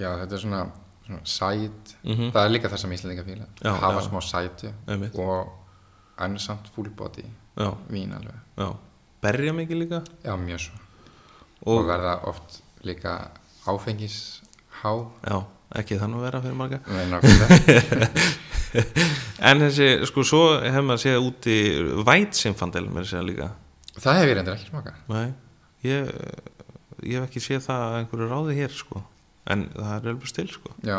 Speaker 2: já, þetta er svona, svona sæt það er líka það sem Íslandingar fíla
Speaker 1: Mhm. Já,
Speaker 2: hafa
Speaker 1: já.
Speaker 2: smá sæti
Speaker 1: Einmitt.
Speaker 2: og ennsamt fullbody
Speaker 1: Já,
Speaker 2: vín alveg
Speaker 1: já, berja mikið líka
Speaker 2: já, mjög svo og,
Speaker 1: og,
Speaker 2: verða oft líka áfengis há
Speaker 1: já, ekki þannig að vera fyrir marga En þessi, sko, svo hef maður séð úti væt Simfandel með þess að líka
Speaker 2: það hef ég reyndir ekki smaka
Speaker 1: Nei, ég, ég hef ekki séð það að einhverju ráði hér sko en það er alveg stil sko
Speaker 2: já,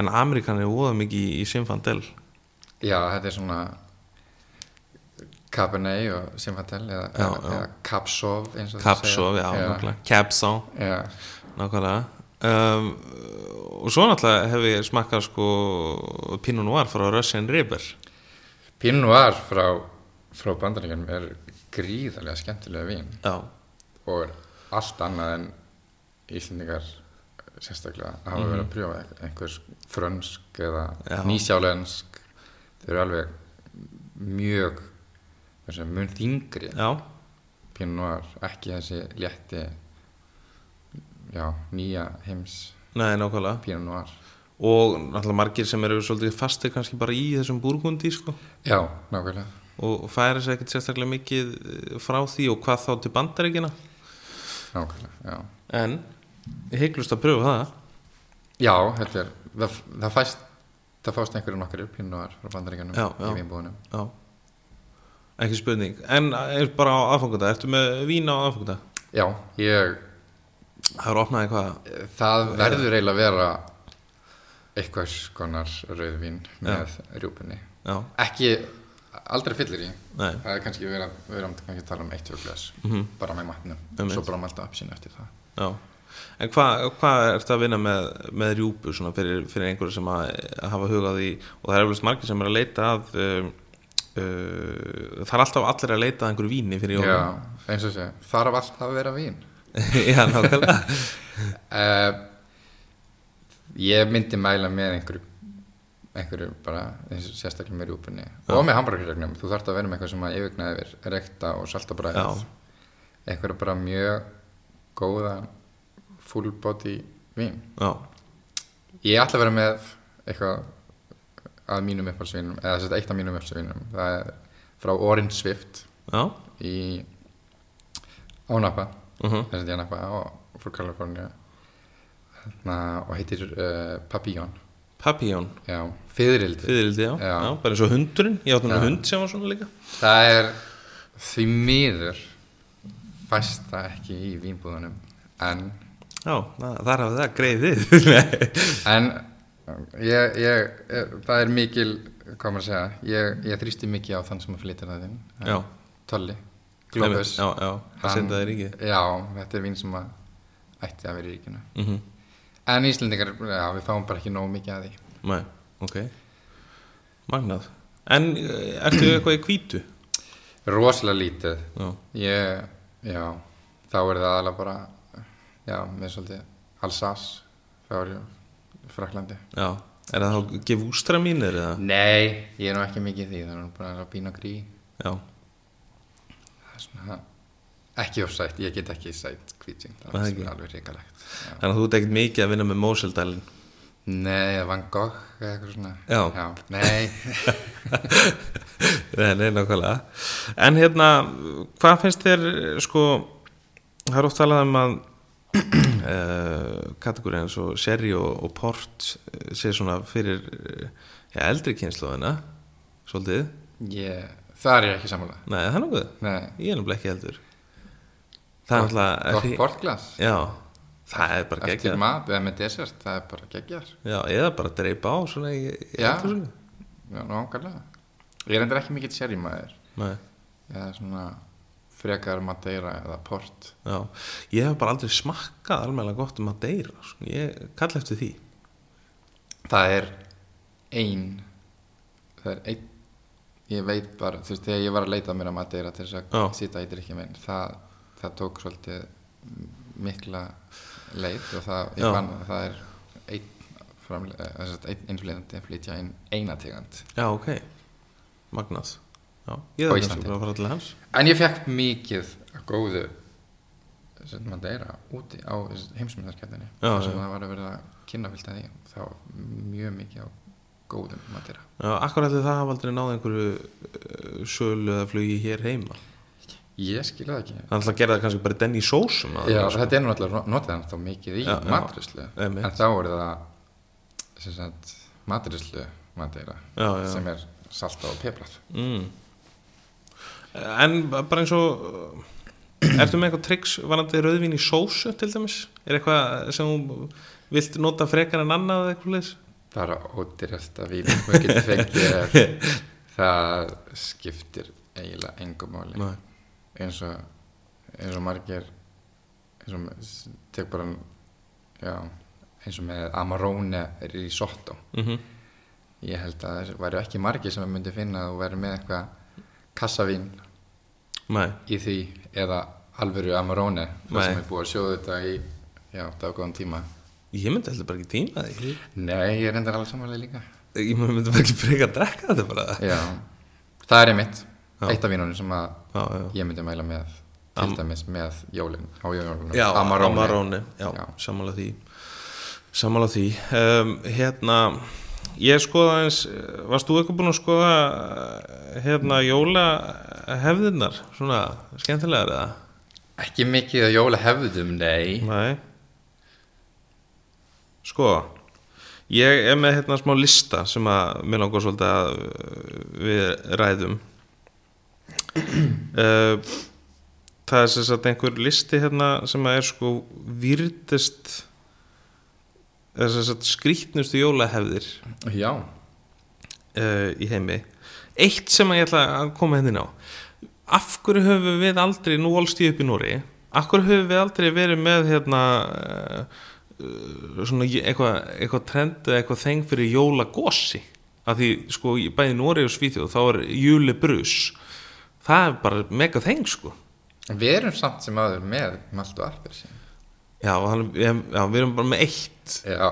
Speaker 1: en Amerikan er óða mikið í, í Simfandel
Speaker 2: já, þetta er svona Cabernet og Sinfandel eða,
Speaker 1: Já,
Speaker 2: eða,
Speaker 1: já.
Speaker 2: eða Capsov eins og þau
Speaker 1: Capsov, já,
Speaker 2: segja.
Speaker 1: nákvæmlega Capsov,
Speaker 2: já,
Speaker 1: nákvæmlega um, og svo náttúrulega hef ég smakkað sko Pinot Noir frá Russian River
Speaker 2: Pinot Noir frá, frá bandaríkjanum er gríðarlega skemmtilega vín
Speaker 1: Já,
Speaker 2: og er allt annað en Íslendingar sérstaklega hafa verið að prjófa e-, einhvers frönsk eða
Speaker 1: Mhm. Já.
Speaker 2: nýsjálensk þau eru alveg mjög þessi, mun þingri
Speaker 1: já,
Speaker 2: Pinot Noir, ekki þessi létti já, nýja heims
Speaker 1: nei, nákvæmlega
Speaker 2: Pinot Noir
Speaker 1: og náttúrulega margir sem eru svolítið fastir kannski bara í þessum búrgundi sko
Speaker 2: já, nákvæmlega
Speaker 1: og færa sér ekkert sérstaklega mikið eh, frá því og hvað þá til bandaríkina
Speaker 2: nákvæmlega, já
Speaker 1: En heiklust að pröfa það
Speaker 2: Já, þetta er, það, það fæst það fást einhverju nokkru pinnuar frá bandaríkanum
Speaker 1: Já, já.
Speaker 2: í vinnbúðunum
Speaker 1: Já Ekki spurning En er bara á aðfangundag Ertu með vín á aðfangundag?
Speaker 2: Já, ég,
Speaker 1: Það er opnað eitthvað
Speaker 2: það verður eiginlega að vera eitthvað konar rauðvín með rjúpunni
Speaker 1: Já,
Speaker 2: ekki, aldrei fyllir í
Speaker 1: nei
Speaker 2: það er kannski verið að vera að tala um eitt tjóklas, bara með matnum
Speaker 1: Mhm. Einmitt.
Speaker 2: svo bara malta upp sín eftir það
Speaker 1: Já En hvað hva ertu að vinna með, með rjúpu svona fyrir, fyrir einhverju sem að, að hafa hugað í og það er eflust margir sem er að leita að um, uh, það er alltaf allir að leita að einhverju víni fyrir
Speaker 2: Já,
Speaker 1: jólum
Speaker 2: eins og sé, þarf alltaf að vera vín
Speaker 1: Já, nákvæmlega
Speaker 2: uh, ég myndi mæla með einhverju einhverju bara eins og sérstaklega með rjúpunni og með hambúrgarregnum, þú þarft að vera með eitthvað sem að yfirgna yfir rekta og salta bræðið
Speaker 1: Já.
Speaker 2: einhverju bara mjög góða full body vín
Speaker 1: Já,
Speaker 2: ég ætla að vera með eitthvað að mínum upphalsvínum eða þess að eitt af mínum upphalsvínum það er frá Orange Swift
Speaker 1: já,
Speaker 2: í Ónapa
Speaker 1: Mhm.
Speaker 2: þess að ég napa og frú Kalifornia Þarna, Hérna, og heitir uh, Papillon
Speaker 1: papíjón
Speaker 2: já, fyririldi
Speaker 1: Fyðrildi, já.
Speaker 2: Já.
Speaker 1: já Bara eins og hundurinn Ég átti með
Speaker 2: Já.
Speaker 1: hund sem var svona líka
Speaker 2: það er því miður fæst það ekki í vínbúðunum en,
Speaker 1: Já, það, þar hafið það greið þið Nei.
Speaker 2: en ég, ég, eh, það er mikil hvað maður að segja, ég, ég þrýsti mikið á þann sem að flytir það inn Eh,
Speaker 1: Já,
Speaker 2: Tolli, Globus
Speaker 1: Já, já, það
Speaker 2: Hann-
Speaker 1: senda þér ekki
Speaker 2: Já, þetta er vín sem að ætti að vera í ríkinu
Speaker 1: mm
Speaker 2: En Íslendingar, já, við fáum bara ekki nógu mikið að því.
Speaker 1: Nei, ok Magnað En eh, ertu eitthvað í hvítu?
Speaker 2: Rosalega lítið.
Speaker 1: Já,
Speaker 2: Ég, já, þá er það aðalega bara, já, með svolítið Alsace, þá er ég fraklandi.
Speaker 1: já Er það þá gefústra mínir eða?
Speaker 2: Nei, ég er nú ekki mikið í því, það er nú bara að pína grí.
Speaker 1: Já
Speaker 2: svona, ekki of sætt, ég get ekki sætt kvíting, það
Speaker 1: Nei,
Speaker 2: sem
Speaker 1: ekki.
Speaker 2: er alveg ríkalegt
Speaker 1: Þannig að þú ert ekkert mikið að vinna með Moseldalinn
Speaker 2: Nei, eða Van Gogh eða eitthvað svona
Speaker 1: Já.
Speaker 2: Nei,
Speaker 1: Nei, nei, nákvæmlega En hérna, hvað finnst þér sko, það er oft talað um að uh, kategóri eins og sherry og, og port eh, sé svona fyrir eh, já, eldri kynnslóðina svolítið,
Speaker 2: ég, það er ég ekki sammála
Speaker 1: nei, það er nokkuð
Speaker 2: Nei,
Speaker 1: ég er nefnilega ekki heldur það er alltaf
Speaker 2: gott bortglas
Speaker 1: já, það er bara
Speaker 2: Eftir
Speaker 1: geggjað
Speaker 2: mat eða með desert, það er bara geggjar
Speaker 1: já, eða bara dreipa á svona í, í
Speaker 2: Já.
Speaker 1: eldhúsinu.
Speaker 2: Já, nákvæmlega Ég er endur ekki mikill sérjumæður
Speaker 1: Nei,
Speaker 2: eða svona frekar Madeira eða port
Speaker 1: já. ég hef bara aldrei smakkað almenlega gott um að deyra sko. ég kalla eftir því
Speaker 2: Það er ein það er ein ég veit bara, þú veist, þegar ég var að leita mér að Madeira til þess að
Speaker 1: Já.
Speaker 2: sita í drikki minn það, það tók svolítið mikla leit og það,
Speaker 1: Já.
Speaker 2: ég fann að það er einn framlega, þess að einn innflytjandi að flytja inn eina tegund
Speaker 1: Já, ok, magnað Já, ég
Speaker 2: Á
Speaker 1: er
Speaker 2: Íslandi.
Speaker 1: kannski bara að fara til hans
Speaker 2: En ég fekk mikið af góðu sem maður deyra úti á heimsmyndarskjöndinni
Speaker 1: Já,
Speaker 2: þar sem
Speaker 1: já.
Speaker 2: það var að vera kynnafylgt að því þá var mjög mikið á góðum madeira
Speaker 1: Já, akkur ætli það hafa aldrei náð einhverju uh, sölu eða flugi hér heima
Speaker 2: Ég skil það ekki
Speaker 1: Þannig að gera það kannski bara denni í sósum að
Speaker 2: Já,
Speaker 1: það, sko.
Speaker 2: þetta er náttúrulega notað hann þá mikið í
Speaker 1: Já,
Speaker 2: ja,
Speaker 1: já.
Speaker 2: matrislu
Speaker 1: Einmitt.
Speaker 2: en þá er það sem sagt, matrislu madeira
Speaker 1: Já, já.
Speaker 2: sem er salta og peprað
Speaker 1: mm. En bara eins og uh, Ertu með eitthvað triks varandi rauðvín í sósu til dæmis? Er eitthvað sem þú vilt nota frekar en annað eða eitthvað leis?
Speaker 2: bara ódýrasta vín og getur fengið er- það skiptir eiginlega engum máli
Speaker 1: Nei,
Speaker 2: eins og eins og margir eins og s- tek bara já, eins og með Amarone risotto
Speaker 1: mm
Speaker 2: ég held að það væri ekki margir sem myndi finna að þú væri með eitthvað kassavín
Speaker 1: Nei.
Speaker 2: í því eða alvöru Amarone það sem
Speaker 1: Nei.
Speaker 2: er búið að sjóða þetta í já, dagóðan tíma
Speaker 1: Ég myndi heldur bara ekki tíma því
Speaker 2: nei, ég er reyndar alveg samanlega líka
Speaker 1: Ég myndi bara ekki frekar að drekka þetta bara
Speaker 2: já, það er einmitt
Speaker 1: Já.
Speaker 2: eitt af vínunum sem að
Speaker 1: Já, já
Speaker 2: ég myndi mæla með til dæmis með jólin á jólunum
Speaker 1: Já, Amarone, já,
Speaker 2: Já.
Speaker 1: sammála því Sammála því um, Hérna, ég skoða eins Varst þú eitthvað búin að skoða hérna, jóla hefðirnar, svona, skemmtilegar eða?
Speaker 2: Ekki mikið að jóla hefðum, nei.
Speaker 1: Nei Sko Ég er með hérna smá lista sem að mér langar svolítið að uh, við ræðum uh, Það er sem sagt einhver listi hérna sem að er sko výrtist er sem sagt skrýtnustu jólahefðir
Speaker 2: Já,
Speaker 1: uh, í heimi Eitt sem að ég ætla að koma henni á Af hverju höfum við aldrei nú volst ég upp í Nóri Af hverju höfum við aldrei verið með hérna uh, uh, svona j- eitthvað eitthva trend eða eitthvað þeng fyrir jólagosi að því sko í- bæði Nóri og Svíþjóð þá er julebrus það er bara mega þeng sko
Speaker 2: við erum samt sem aður með malt og appelsín.
Speaker 1: Já, og hann, ég, já, við erum bara með eitt
Speaker 2: Já,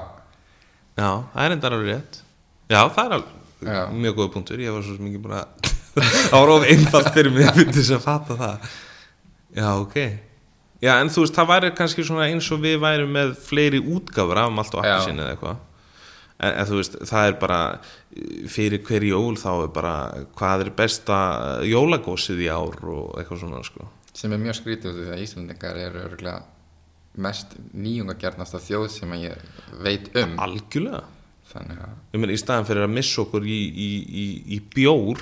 Speaker 1: Já, það er enda alveg rétt Já, það er alveg
Speaker 2: Já.
Speaker 1: mjög góða punktur Ég var svo mikið búin að Það var of einfalt fyrir mig til þess að fatta það Já, ok Já, en þú veist, það væri kannski svona eins og við værum með fleiri útgáfur af malt og
Speaker 2: Já.
Speaker 1: appelsín eða eitthvað en, en þú veist, það er bara fyrir hver jól þá er bara hvað er besta jólagósið í ár og eitthvað svona sko.
Speaker 2: sem er mjög skrítið út af því að Íslandingar eru örgulega mest nýjungagjarnasta þjóð sem að ég veit um.
Speaker 1: Algjörlega
Speaker 2: Þannig að
Speaker 1: Ég meina, í staðan fyrir að missa okkur í, í, í, í bjór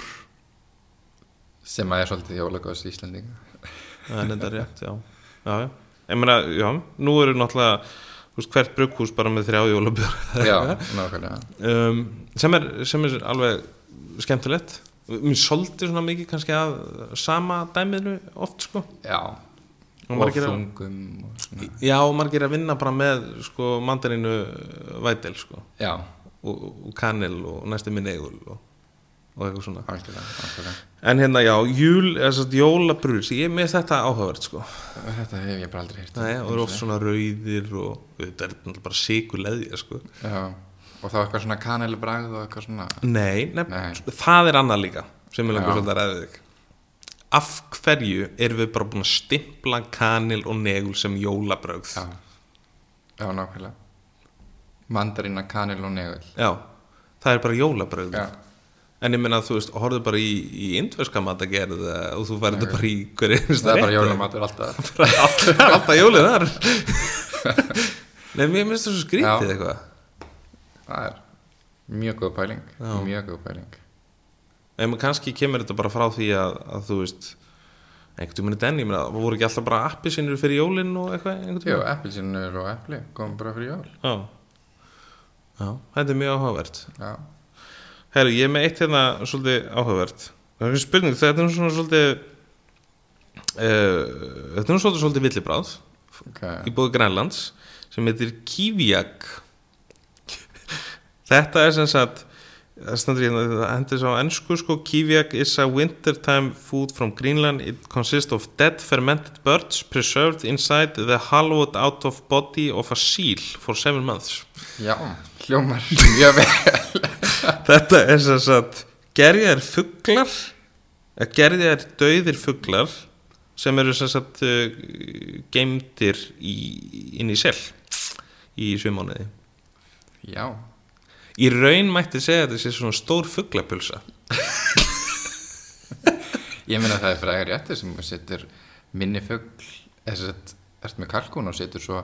Speaker 2: sem að er svolítið jólagos Íslandinga.
Speaker 1: Það er enda rétt, já. já, já. Ég meina, já, nú eru náttúrulega þú veist, hvert brugghús bara með þrjá jólabjör
Speaker 2: Já, nákvæmlega.
Speaker 1: um, sem, er, sem er alveg skemmtilegt mér soldi svona mikið kannski að sama dæmiðnu oft sko
Speaker 2: Já,
Speaker 1: Og
Speaker 2: og
Speaker 1: margir að-
Speaker 2: þungum og svona.
Speaker 1: já, og margir að vinna bara með sko mandarinu vætel sko
Speaker 2: Já,
Speaker 1: og, og kanil og næstu minn eigul og, og eitthvað svona
Speaker 2: algjörlega, algjörlega. en
Speaker 1: en hérna já, júl, jólabrús ég er með þetta áhugavert sko
Speaker 2: Þetta hef ég bara aldrei heyrt. um.
Speaker 1: Nei, og eru oft svona rauðir og þetta er náttúrulega bara sikuleðja sko.
Speaker 2: Já, og þá eitthvað svona kanelbragð og eitthvað svona...
Speaker 1: Nei, nefn,
Speaker 2: Nei.
Speaker 1: það er annað líka sem er langar
Speaker 2: Já.
Speaker 1: svolítið að ræða við þig af hverju erum við bara búin að stimpla kanil og negul sem jólabrögð
Speaker 2: Já, já nákvæmlega Mandarína, kanil og negul
Speaker 1: Já, það er bara jólabrögð
Speaker 2: Já,
Speaker 1: en ég meina þú veist, horfðu bara í, í indverska matagerð eh, og þú verður bara í hverju
Speaker 2: það er bara jólamatur alltaf
Speaker 1: alltaf, alltaf jólið þar Nei, mér minnst það svo skrítið
Speaker 2: Já.
Speaker 1: eitthvað
Speaker 2: Það er mjög góð pæling
Speaker 1: Já.
Speaker 2: Mjög góð pæling
Speaker 1: Nei, menn kannski kemur þetta bara frá því að, að þú veist einhvern tímann í denni, ég meina, voru ekki alltaf bara appi sinur fyrir jólinn og eitthvað einhvern
Speaker 2: Jú,
Speaker 1: tímann?
Speaker 2: appelsinur og epli kom bara fyrir jól
Speaker 1: Já. Já, þetta er mjög áhugavert.
Speaker 2: Já,
Speaker 1: Herru, ég er með eitt hérna svolítið áhugavert. Það er ekki spurning, þetta er nú svona svolítið uh, þetta er nú svolítið svolítið villibráð
Speaker 2: ok
Speaker 1: í búið Grænlands sem heitir Kiviak. þetta er sem sagt það stendur hérna, það hendur svo á ennsku sko, Kiviak is a wintertime food from Greenland, it consists of dead fermented birds preserved inside the hollowed out of body of a seal for seven months
Speaker 2: Já, hljómar mjög vel
Speaker 1: Þetta er sem sagt gerðir fuglar eða gerðir dauðir fuglar sem eru sem sagt uh, geimdir í, inn í sel í svimánuði
Speaker 2: Já,
Speaker 1: Í raun mætti segja að þetta sé svona stór fuglapulsa
Speaker 2: ég meina það er frægar réttir sem setur minni fugl þess að ert með kalkun og setur svo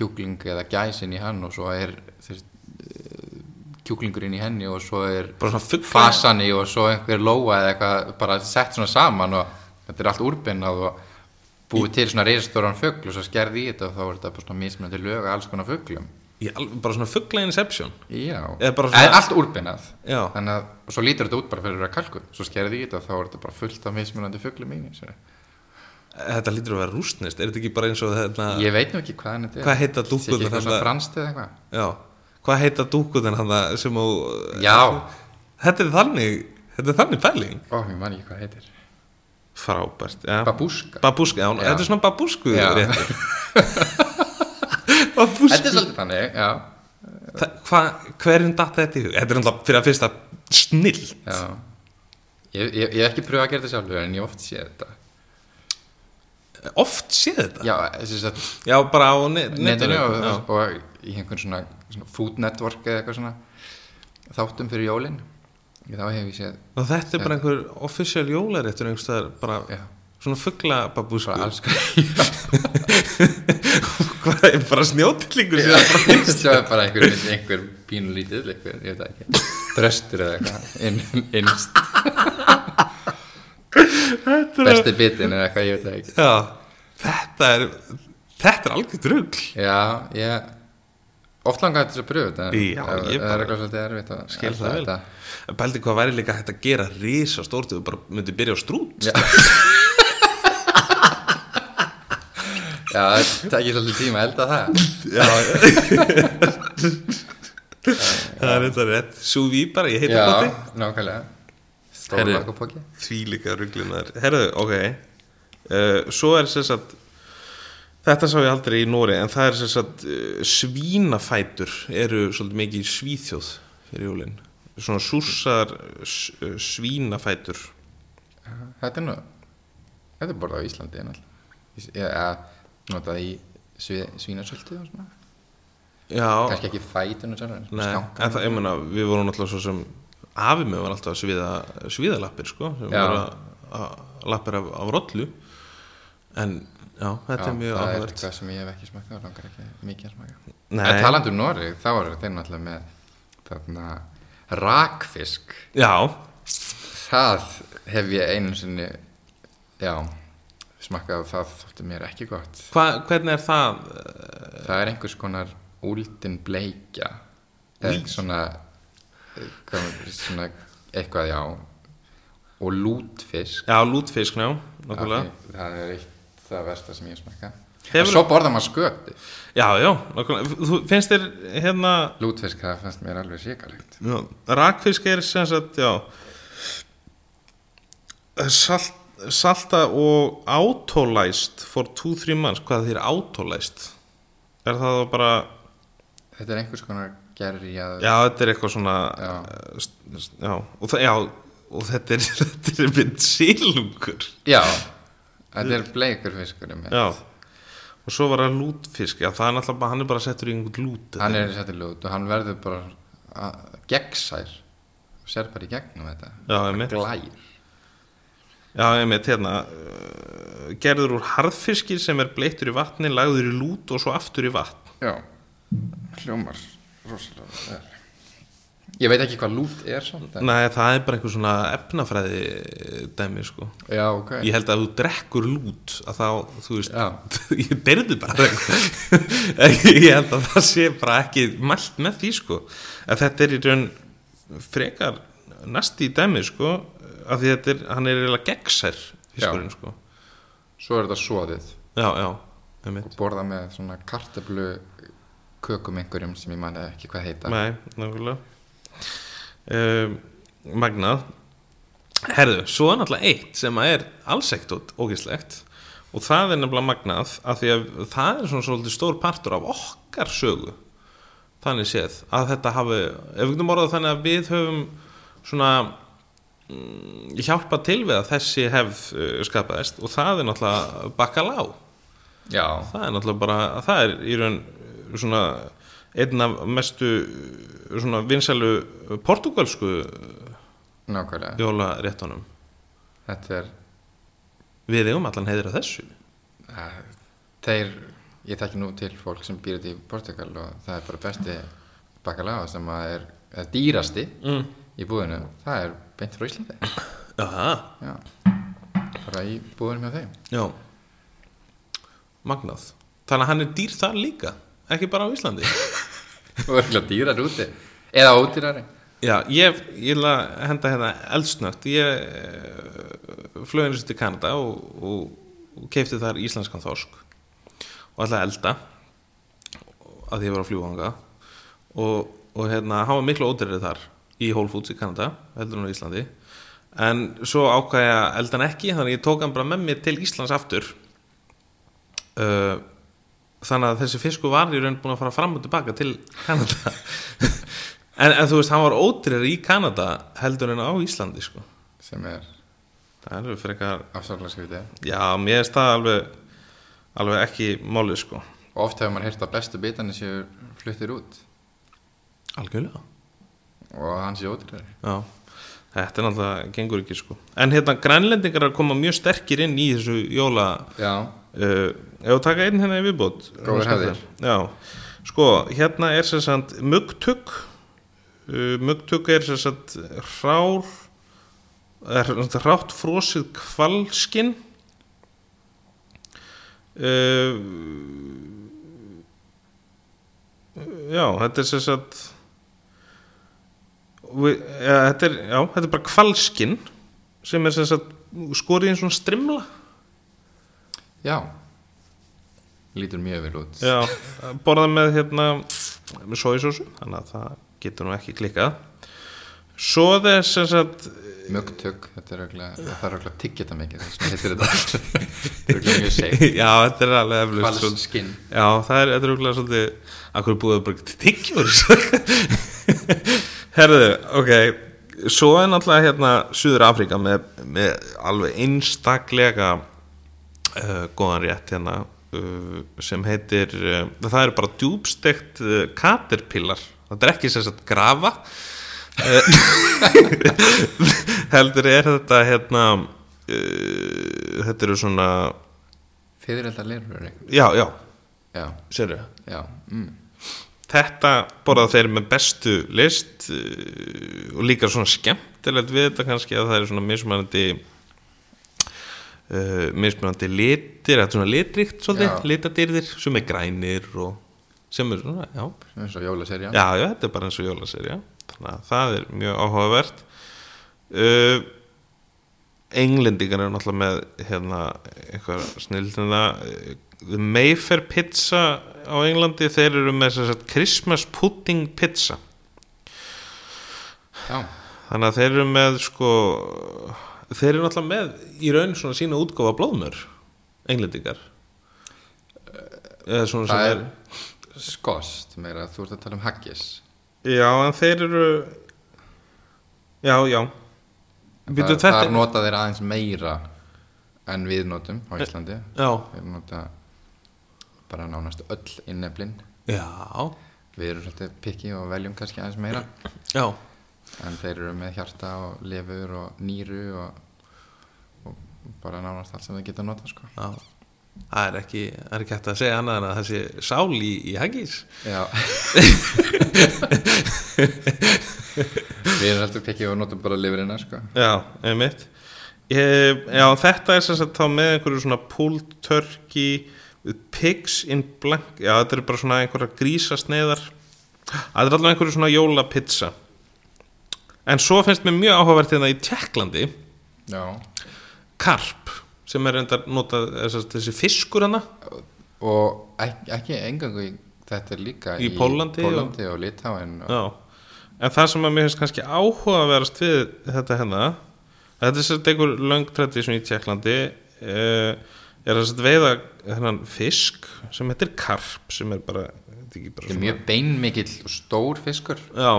Speaker 2: kjúkling eða gæs inn í hann og svo er þess, kjúklingur inn í henni og svo er
Speaker 1: bara svona fugla
Speaker 2: fasani og svo einhver lóa eða eitthvað bara sett svona saman og þetta er allt úrbinnað og búið til svona reisastóran fugl og svo skerði í þetta og þá er þetta bara svona mismunandi lög að alls konar fuglum
Speaker 1: í al- bara svona fugla inception
Speaker 2: Já,
Speaker 1: Eða bara svona-
Speaker 2: svona... allt úrbinnað
Speaker 1: Já.
Speaker 2: þannig að og svo lítur þetta út bara fyrir að vera kalkun svo skerði í þetta og þá er þetta bara fullt af mismunandi fuglum í þessu
Speaker 1: þetta lítur að vera rústnist, er þetta ekki bara eins og þetta
Speaker 2: Ég veit nú ekki hvaðan þetta er
Speaker 1: Hvað heita
Speaker 2: Sé ekki
Speaker 1: dúkkurnar
Speaker 2: eitthvað
Speaker 1: þarna?
Speaker 2: svona franskt eða eitthvað
Speaker 1: já, hvað heita dúkuðin hann sem á
Speaker 2: Já.
Speaker 1: þetta er þannig, þetta er þannig pæling
Speaker 2: Ó, ég man ekki hvað það heitir
Speaker 1: frábært, já
Speaker 2: Babúska
Speaker 1: Babúska, já,
Speaker 2: Já.
Speaker 1: þetta er svona babúsku
Speaker 2: Já.
Speaker 1: réttur
Speaker 2: Þetta er
Speaker 1: Babúsku
Speaker 2: svolítið þannig, já,
Speaker 1: Þa- hvað- Hverjum datt þetta í hug? Þetta er náttúrulega fyrir að fyrsta snill
Speaker 2: já. Ég, ég, ég hef ekki pröfað að gera þetta sjálfur en ég hef oft sé þetta
Speaker 1: Oft séð þetta
Speaker 2: Já, þess að
Speaker 1: Já, bara á net,
Speaker 2: netinu og,
Speaker 1: já.
Speaker 2: og í einhvern svona, svona food network eða eitthvað svona þáttum fyrir jólin ég þá hef ég séð
Speaker 1: Og þetta er bara einhver official jólaréttur einhvers staðar bara
Speaker 2: já,
Speaker 1: svona sko. fuggla babúsku
Speaker 2: bara alls
Speaker 1: Hvað er bara snjótillingur sko. síðan
Speaker 2: konar svo er bara einhver, einhver pínulítið einhver, ég veit það ekki, dröstur eða eitthvað inn, innst besti bitin eða eitthvað, ég veit það ekki
Speaker 1: Já, þetta er Þetta er algjörð rugl
Speaker 2: já, ég oft langaði til að pröfa þetta en
Speaker 1: Já, ég
Speaker 2: það- það er
Speaker 1: bara-
Speaker 2: eitthvað svolítið erfitt að
Speaker 1: Skil
Speaker 2: að-
Speaker 1: það
Speaker 2: að-
Speaker 1: vel Bældi hvað væri líka hægt að gera risa stórt Þú bara myndi byrja á strút
Speaker 2: Já. já, það tekir svolítið tíma að elda það
Speaker 1: Það er þetta rétt Súví bara, ég heita
Speaker 2: já,
Speaker 1: bóti
Speaker 2: nákvæmlega
Speaker 1: Herri.
Speaker 2: stóra lakopokki
Speaker 1: Því líka ruglinar Herðu, ok uh, Svo er sér satt Þetta sá ég aldrei í Nóri En það er sér satt uh, Svínafætur eru svolítið mikið í svíþjóð Fyrir jólin Svona súsar uh, s- uh, svínafætur
Speaker 2: Þetta er nú Þetta er borðað á Íslandi en alltaf Eða notað í svínasöldu og svona
Speaker 1: Já,
Speaker 2: Kannski ekki fætunum sjálfur en
Speaker 1: nei
Speaker 2: skanka.
Speaker 1: En það, ég meina, við vorum alltaf svo sem Afi mig var alltaf að sviða, sviða lappir sko Sem
Speaker 2: Já.
Speaker 1: voru að- að lappir af, af rollu En já, þetta er mjög
Speaker 2: Það er
Speaker 1: áhverð
Speaker 2: eitthvað sem ég hef ekki smakað og langar ekki mikið að smaka
Speaker 1: Nei.
Speaker 2: En talandi um Noreg, þá eru þeir náttúrulega með þarna rakfisk
Speaker 1: Já,
Speaker 2: Það hef ég einu sinni Já smakkað og það þótti mér ekki gott
Speaker 1: Hva, hvernig er það?
Speaker 2: Það er einhvers konar úldin bleikja eða svona, hvað- svona eitthvað já og lútfisk
Speaker 1: Já, lútfisk, já, nákvæmlega.
Speaker 2: Af því það er eitt það versta sem ég smakka
Speaker 1: Hefur-
Speaker 2: Hefur... svo borða maður skötu
Speaker 1: Já, já, nákvæmlega. Þú finnst þér hérna,
Speaker 2: lútfisk það fannst mér alveg síkalegt
Speaker 1: já, rakfisk er sem sagt, já, salt, salta og autolæst for 2-3 manns. Hvað þýr autolæst? Er það þá bara,
Speaker 2: þetta er einhvers konar gerjað
Speaker 1: já, þetta er eitthvað svona,
Speaker 2: Já.
Speaker 1: já, já og það, já, og þetta er, þetta er mynd silungur
Speaker 2: Já, þetta er bleikur fiskur um
Speaker 1: já og svo var það lútfisk, já það er náttúrulega bara- hann er bara settur í einhvern lút
Speaker 2: Hann er sættir lút og hann verður bara að- gegnsær sér bara í gegnum þetta
Speaker 1: já, einmitt,
Speaker 2: glær
Speaker 1: já, einmitt hérna, uh, gerður úr harðfiski sem er bleittur í vatni, lagður í lút og svo aftur í vatn
Speaker 2: Já, hljómar rosalega vel. Ég veit ekki hvað lút er samt en-
Speaker 1: Nei, það er bara einhver svona efnafræði dæmi, sko.
Speaker 2: Já, ok
Speaker 1: Ég held að ef þú drekkur lút að þá, þú veist,
Speaker 2: Já.
Speaker 1: ég deyrði bara. ég held að það sé bara ekki mælt með því, sko. Að þetta er í raun frekar næst í dæmi, sko, af því þetta er, hann er eiginlega gegnsær, fiskurinn, sko.
Speaker 2: Svo er þetta svoðið
Speaker 1: Já, já, einmitt.
Speaker 2: og borða með svona kartablu kökum einhverjum sem ég man ekki hvað heita
Speaker 1: Nei, nákvæmlega. Um, magnað. Herðu, svo er náttúrulega eitt sem að er alls ekkert ógislegt og það er nefnilega magnað af því að það er svona svolítið stór partur af okkar sögu þannig séð að þetta hafi, ef við getum orðað þannig að við höfum svona mm, hjálpa til við að þessi hef uh, skapaðist og það er náttúrulega bakkalá
Speaker 2: Já,
Speaker 1: það er náttúrulega bara, það er í raun uh, svona einn af mestu uh, svona vinsælu uh, portugalsku
Speaker 2: nákvæmlega
Speaker 1: jólaréttunum
Speaker 2: Þetta er
Speaker 1: við eigum allan heiðra þessu
Speaker 2: að, eh, Þeir, ég þekki nú til fólk sem býr þetta í Portugal og það er bara besti bakaláa sem að er eða dýrasti mm. í búðinu það er beint frá Íslandi
Speaker 1: Jaha,
Speaker 2: Já. bara í búðinu með þeim
Speaker 1: já Magnað Þannig að hann er dýr þar líka, ekki bara á Íslandi
Speaker 2: og örgulega dýrar úti eða ódýrari
Speaker 1: Já, ég, ég vil að henda hérna eldsnögt Ég flög einu sinni til Kanada og, og, og keipti þar íslenskan þorsk og ætlaði að elda að því ég var að fljúga hanga og, og hérna, hann var miklu ódýrari þar í Whole Foods í Kanada heldur hann á Íslandi en svo ákvað ég að elda hann ekki þannig að ég tók hann bara með mér til Íslands aftur uh, þannig að þessi fiskur var í raun búin að fara fram og tilbaka til Kanada en, en þú veist, hann var ódýrari í Kanada heldur en á Íslandi sko.
Speaker 2: sem er
Speaker 1: það er alveg frekar
Speaker 2: afsaklega skrítið
Speaker 1: já, mér er það alveg alveg ekki málið sko
Speaker 2: og oft hefur maður heyrt að bestu bitarnir séu fluttir út
Speaker 1: algjörlega
Speaker 2: og hann séu ódýrari
Speaker 1: Já, þetta er náttúrulega gengur ekki sko En hérna grænlendingar er að koma mjög sterkir inn í þessu jóla
Speaker 2: Já,
Speaker 1: uh, Ef þú taka einn hérna í viðbót
Speaker 2: Góðir hefðir.
Speaker 1: Já, sko, hérna er sem sagt mugtugg uh, Mugtugg er sem sagt hrár er, sem sagt, hrátt frosið kvalskinn uh, Já, þetta er sem sagt við, ja, þetta, er, já, þetta er bara kvalskinn sem er sem sagt skorið í einn svona strimla
Speaker 2: já lítur mjög vel út
Speaker 1: Já, borða með hérna með sojasósu, þannig að það getur nú ekki klikkað Svo þess sem sagt
Speaker 2: Mögtök, þetta er örugglega- það er örugglega tiggeta mikið þess að heitir þetta Þetta er örugglega mjög seif
Speaker 1: Já, þetta er alveg eflust
Speaker 2: Falsk skinn
Speaker 1: Já, það er, þetta er okkur svolítið Akkur búið að bara tiggjur Herðu, ok Svo er náttúrulega hérna Suður Afríka með, með alveg einstaklega uh, góðan rétt hérna uh, sem heitir uh, það eru bara djúbstekt uh, katerpillar það er ekki sem sagt grafa uh, heldur er þetta hérna uh, þetta eru svona
Speaker 2: Fyrirelda leirur
Speaker 1: já, já,
Speaker 2: Já,
Speaker 1: sérðu
Speaker 2: já mm.
Speaker 1: þetta borða þeir með bestu list uh, og líka svona skemmtilegt við þetta kannski að það er svona mismunandi uh, mismunandi litir, þetta er svona litrikt
Speaker 2: Já.
Speaker 1: svolítið, litadýrðir sem er grænir og sem er svona, já
Speaker 2: Svona eins og jólaserja
Speaker 1: já, já, þetta er bara eins og jólaserja þannig að það er mjög áhugavert uh, Englendingar eru náttúrulega með hérna, eitthvað snildina The Mayfair pizza á Englandi, þeir eru með sem sagt, Christmas pudding pizza
Speaker 2: já,
Speaker 1: þannig að þeir eru með sko, þeir eru náttúrulega með í raun svona sína útgáfa blóðmör Englendingar eða svona sem
Speaker 2: Það
Speaker 1: er,
Speaker 2: er skost meira að þú ert að tala um haggis
Speaker 1: já, en þeir eru já, já Bíddu,
Speaker 2: þar,
Speaker 1: þetta-
Speaker 2: þar nota þeir aðeins meira en við notum á Íslandi
Speaker 1: Já,
Speaker 2: við nota bara nánast öll inneflin
Speaker 1: já,
Speaker 2: við erum svolítið pikki og veljum kannski aðeins meira
Speaker 1: já
Speaker 2: en þeir eru með hjarta og lefur og nýru og, og bara nánast allt sem þeir geta nota sko.
Speaker 1: Já, það er ekki, það er ekki hægt að segja annað en að það sé sál í, í haggis
Speaker 2: já við erum svolítið pikki og notum bara lefurina sko.
Speaker 1: Já, einmitt ég, Já, þetta er sem sagt þá með einhverju svona pulled turkey with pigs in blank Já, þetta er bara svona einhverja grísasneiðar Það er allavega einhverju svona jólapizza En svo finnst mér mjög áhugavert hérna í Tjekklandi
Speaker 2: já
Speaker 1: Karp sem er reyndar notað er sem sagt þessi fiskur hana
Speaker 2: og ekki, ekki engangu í, þetta er líka
Speaker 1: Í Póllandi og-
Speaker 2: Póllandi og, og Litáin og,
Speaker 1: Já, en það sem að mér finnst kannski áhugaverðast við þetta hérna þetta er sérst einhver löng tradisjón í Tjekklandi uh, er að sérst veiða hennan fisk sem heitir karp sem er bara, þetta er ekki bara
Speaker 2: þetta er mjög beinmikill og stór fiskur
Speaker 1: Já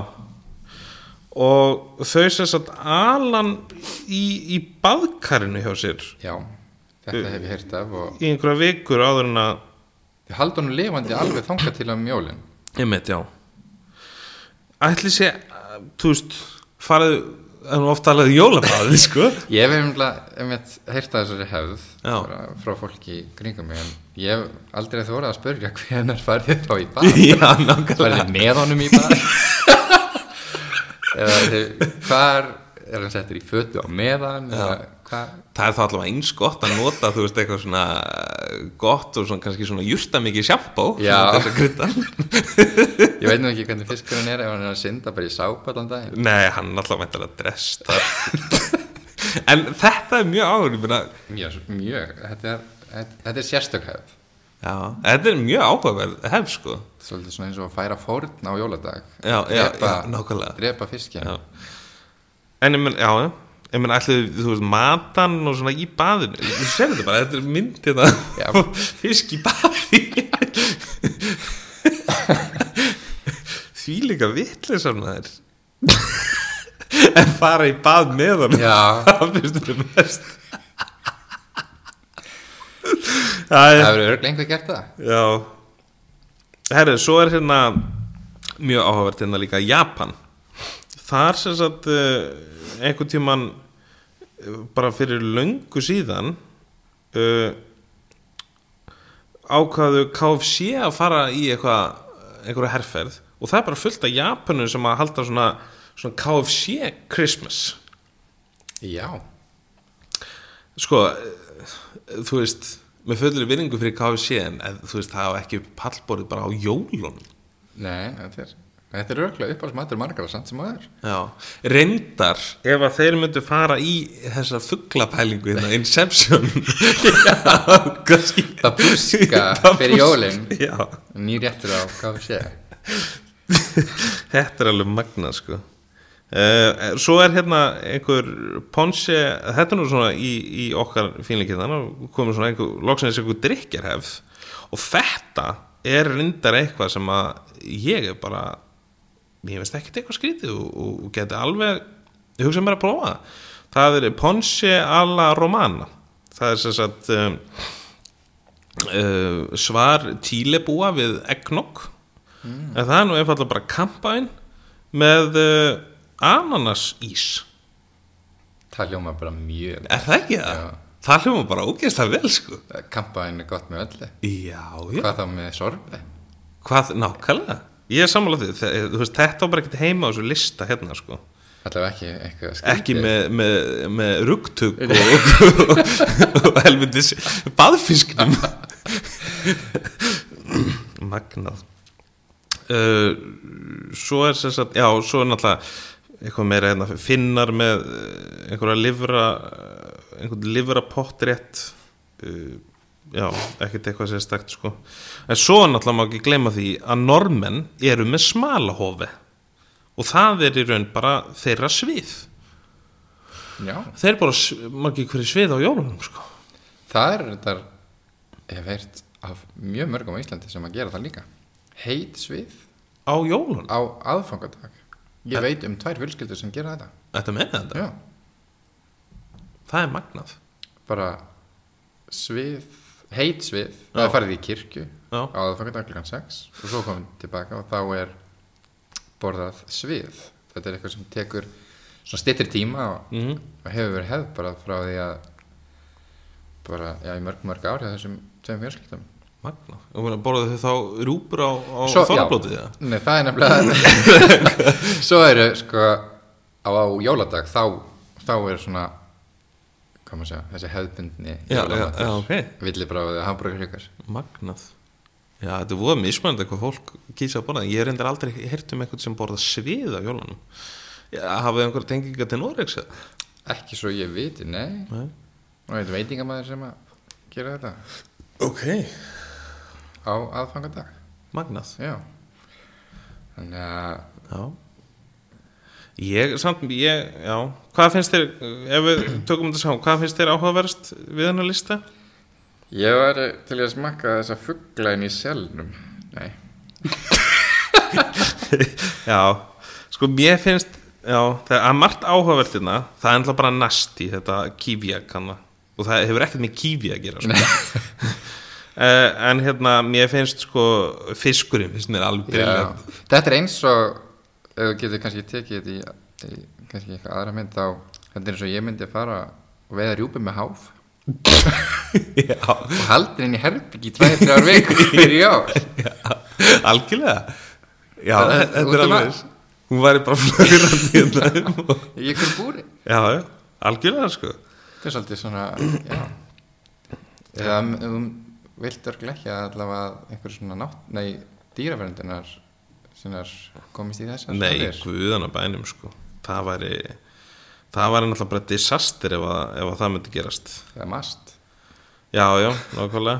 Speaker 1: og þau sérst að alan í, í baðkarinu hjá sér
Speaker 2: já, þetta hef ég heyrt af og
Speaker 1: í einhverja vikur áður en að
Speaker 2: þið halda hann lifandi alveg þanga til um að mjólin
Speaker 1: Ég meit, já Ætli sé, uh, þú veist farið, en ofta alveg jólabæði, um sko
Speaker 2: ég hef einmitt heyrt af þessari hefð
Speaker 1: Já.
Speaker 2: bara frá fólki í kringum mig en ég hef aldrei þórað að spurja hvenar farið þá í bað
Speaker 1: Já, nákvæmlega
Speaker 2: farið þið með honum í bað eða þið hvar er hann settur í fötu á meðan eða hvað
Speaker 1: Það er þá allavega eins gott að nota þú veist eitthvað svona eh, gott og svona, kannski svona jurta mikið sjampó
Speaker 2: Já.
Speaker 1: svona til þess að krydda.
Speaker 2: Ég veit nú ekki hvernig fiskurinn er ef hann er að synda bara í sáp allan daginn
Speaker 1: Nei, hann er allavega meintar að dress þar En þetta er mjög áhugaverð ég meina,
Speaker 2: Mjög, mjög, þetta er, þetta, þetta er sérstök hefð
Speaker 1: Já, þetta er mjög áhugaverð hef sko
Speaker 2: Svolítið svona eins og að færa fórn á jóladag
Speaker 1: Já, já,
Speaker 2: drepa,
Speaker 1: já, nákvæmlega.
Speaker 2: Drepa fiskinn
Speaker 1: Já. En ég menn, já, já Ég menn allir, þú veist, matan og svona í baðinu Þú sér þetta bara, þetta er mynd hérna
Speaker 2: Já.
Speaker 1: Fisk í baði Því líka vitlega saman það er En fara í bað með hann
Speaker 2: Já,
Speaker 1: Það finnst þetta best Það er
Speaker 2: það verður örglega einhver gert það
Speaker 1: Já Herru, svo er hérna mjög áhugavert hérna líka Japan Þar sem sagt uh, einhvern tíman bara fyrir löngu síðan uh, ákvaðu KFC að fara í eitthvað einhverja herrferð og það er bara fullt af Japanum sem að halda svona, svona KFC Christmas
Speaker 2: Já,
Speaker 1: sko eh, þú veist, með fullri vinningu fyrir KFC en eh, þú veist, það á ekki pallborðið bara á jólun
Speaker 2: nei, þetta er, þetta er örglega uppáhaldsmatur margar samt sem aður
Speaker 1: Já, reyndar ef að þeir myndu fara í þessa fugglapælingu hérna, Inception Já, kannski
Speaker 2: Dabúska
Speaker 1: Það
Speaker 2: fyrir
Speaker 1: bús-
Speaker 2: jólin
Speaker 1: Já,
Speaker 2: Nýr réttur á KFC
Speaker 1: þetta er alveg magna sko Uh, svo er hérna einhver ponsi, þetta er nú svona í, í okkar fínleikið þannig komið svona einhver, loksins einhver drikjarhefð og þetta er reyndar eitthvað sem að ég er bara ég veist ekkert eitthvað skrítið og, og, og geti alveg, ég hugsa mér að prófa það. það er ponsi alla romana það er sem sagt um, uh, svar tílebúa við eggnog en það er nú einfallega bara kampaðin með uh, ananasís
Speaker 2: Það ljóma bara mjög
Speaker 1: er það ekki það?
Speaker 2: Já.
Speaker 1: það hljóma bara ógeðst það vel sko
Speaker 2: Kampaðin er gott með öllu
Speaker 1: já, já,
Speaker 2: Hvað þá með sorbi?
Speaker 1: hvað nákvæmlega ég er sammála því, Þe- þú veist þetta á bara ekkert heima á þessu lista hérna sko
Speaker 2: Alltaf ekki eitthvað
Speaker 1: ekki
Speaker 2: skrítið.
Speaker 1: með, með, með rugtug og, og, og helvindis baðfisknum magnað uh, svo er sem sagt já, svo er náttúrulega eitthvað meira hérna, finnar með eh, einhverja livra einhvern livra pottrétt uh, já, ekkert eitthvað sérstakt sko en svo er náttúrulega má ekki gleyma því að normenn eru með smalahofi og það er í raun bara þeirra svið
Speaker 2: Já
Speaker 1: Þeir bara s- margir hverju svið á jólunum sko.
Speaker 2: Það er þetta hef heyrt af mjög mörgum á Íslandi sem að gera það líka heit svið
Speaker 1: Á jólunum?
Speaker 2: á aðfangadag ég veit um tvær fjölskyldur sem gera þetta
Speaker 1: Þetta meina þetta?
Speaker 2: já,
Speaker 1: það er magnað
Speaker 2: bara svið, heit svið það er farið í kirkju
Speaker 1: Já.
Speaker 2: á aðfangadag klukkan 6 og svo komum við tilbaka og þá er borðað svið þetta er eitthvað sem tekur svona styttir tíma og,
Speaker 1: Mhm.
Speaker 2: og hefur verið hefð bara frá því að bara, já, í mörg mörg ár hjá þessum tveim fjörskildum
Speaker 1: magnað, og meina, borðið þau þá rúpur á, á
Speaker 2: Svo- já.
Speaker 1: þorrablótið eða?
Speaker 2: Nei, það er nefnilega Svo eru sko á, á jóladag þá, þá er svona hvað maður segja, þessi hefðbundni
Speaker 1: Já, já, já, ok.
Speaker 2: villibráðið, hambúrgarhjökar
Speaker 1: magnað já, þetta er voða mismændi hvað fólk kýsa að borða ég reyndar aldrei heyrt um eitthvað sem borða svið á jólanum já, hafið einhverja tenginga til Noregs eða?
Speaker 2: ekki svo ég viti, nei
Speaker 1: Nei.
Speaker 2: og þetta veitingamæður sem að gera þetta
Speaker 1: ok,
Speaker 2: á aðfangadag
Speaker 1: magnað
Speaker 2: já þannig að
Speaker 1: já ég, samt, ég, já hvað finnst þér, ef við tökum þetta saman hvað finnst þér áhugaverst við hennar lista
Speaker 2: ég var til í að smakka þessa fugglæn í selnum nei,
Speaker 1: já, sko mér finnst já, það er margt áhugavertina það er ennlega bara nasti þetta kýfja kanna og það hefur ekkert með kýfja að gera sko. uh, en hérna mér finnst sko fiskurinn finnst mér alveg
Speaker 2: Já.
Speaker 1: briljant
Speaker 2: þetta er eins og ef þú getur kannski tekið þetta í, í kannski eitthvað aðra mynd þá þetta er eins og ég myndi að fara og veiða rjúpi með háf
Speaker 1: já,
Speaker 2: og haldir inn í herbyggi í 2-3 vikur fyrir jól
Speaker 1: algjörlega já,
Speaker 2: Það er-
Speaker 1: þetta
Speaker 2: út
Speaker 1: er
Speaker 2: um
Speaker 1: alveg
Speaker 2: allt.
Speaker 1: hún væri bara flögrandi hérna um og-
Speaker 2: í ykkur búri
Speaker 1: já, já, algjörlega sko
Speaker 2: þetta er svolítið svona já eða um, um, vilt örglega ekki að allavega einhver svona nátt, nei, dýraverndinnar sinnar komist í þessar
Speaker 1: Nei,
Speaker 2: stærðir.
Speaker 1: guðan að bænum sko Það væri Það væri náttúrulega bara disaster ef að, ef að það myndi gerast
Speaker 2: eða mast
Speaker 1: Já, já, nákvæmlega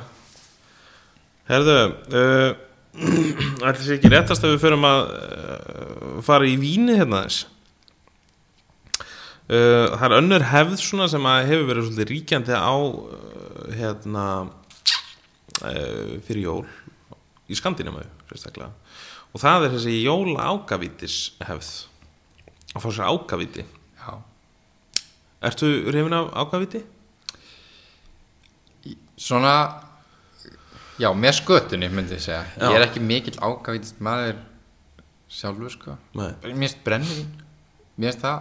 Speaker 1: Herðu uh, Ætli sér ekki réttast að við förum að uh, fara í víni hérna þess uh, Það er önnur hefð svona sem að hefur verið svolítið ríkjandi á uh, hérna uh, fyrir jól í Skandinamau sérstaklega og það er þessi jóla ágavítis hefð að fá sér ágavíti
Speaker 2: já,
Speaker 1: Ertu reyfin af ágavíti?
Speaker 2: svona já, með skötunni myndi ég segja
Speaker 1: Já.
Speaker 2: ég er ekki mikill ágavitist maður sjálfur sko
Speaker 1: Nei.
Speaker 2: mér finnst brennir mér finnst það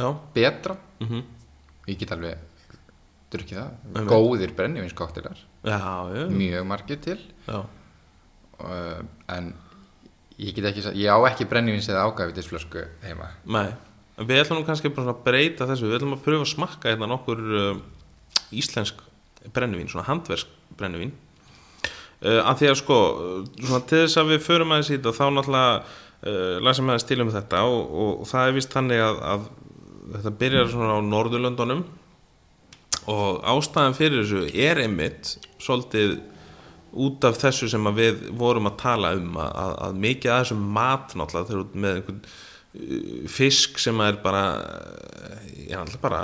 Speaker 1: Já,
Speaker 2: betra
Speaker 1: mhm
Speaker 2: ég get alveg drukkið það
Speaker 1: Nei, nei.
Speaker 2: góðir brennivinskoktilar
Speaker 1: Já, já,
Speaker 2: mjög margir til
Speaker 1: já
Speaker 2: uh, en ég get ekki sa- ég á ekki brennivins eða ágavitisflösku heima
Speaker 1: Nei, En við ætlum nú kannski bara svona að breyta þessu, við ætlum að pröfa að smakka hérna nokkur uh, íslensk brennivín, svona handversk brennivín uh, að því að sko uh, svona til þess að við förum aðeins í þetta þá náttúrulega uh, læsum aðeins til um þetta og, og það er vist þannig að, að þetta byrjar svona á Norðurlöndunum og ástæðan fyrir þessu er einmitt svolítið út af þessu sem að við vorum að tala um að, að, að mikið að þessum mat náttúrulega þegar þú ert með einhvern uh, fisk sem er bara ég er alltaf bara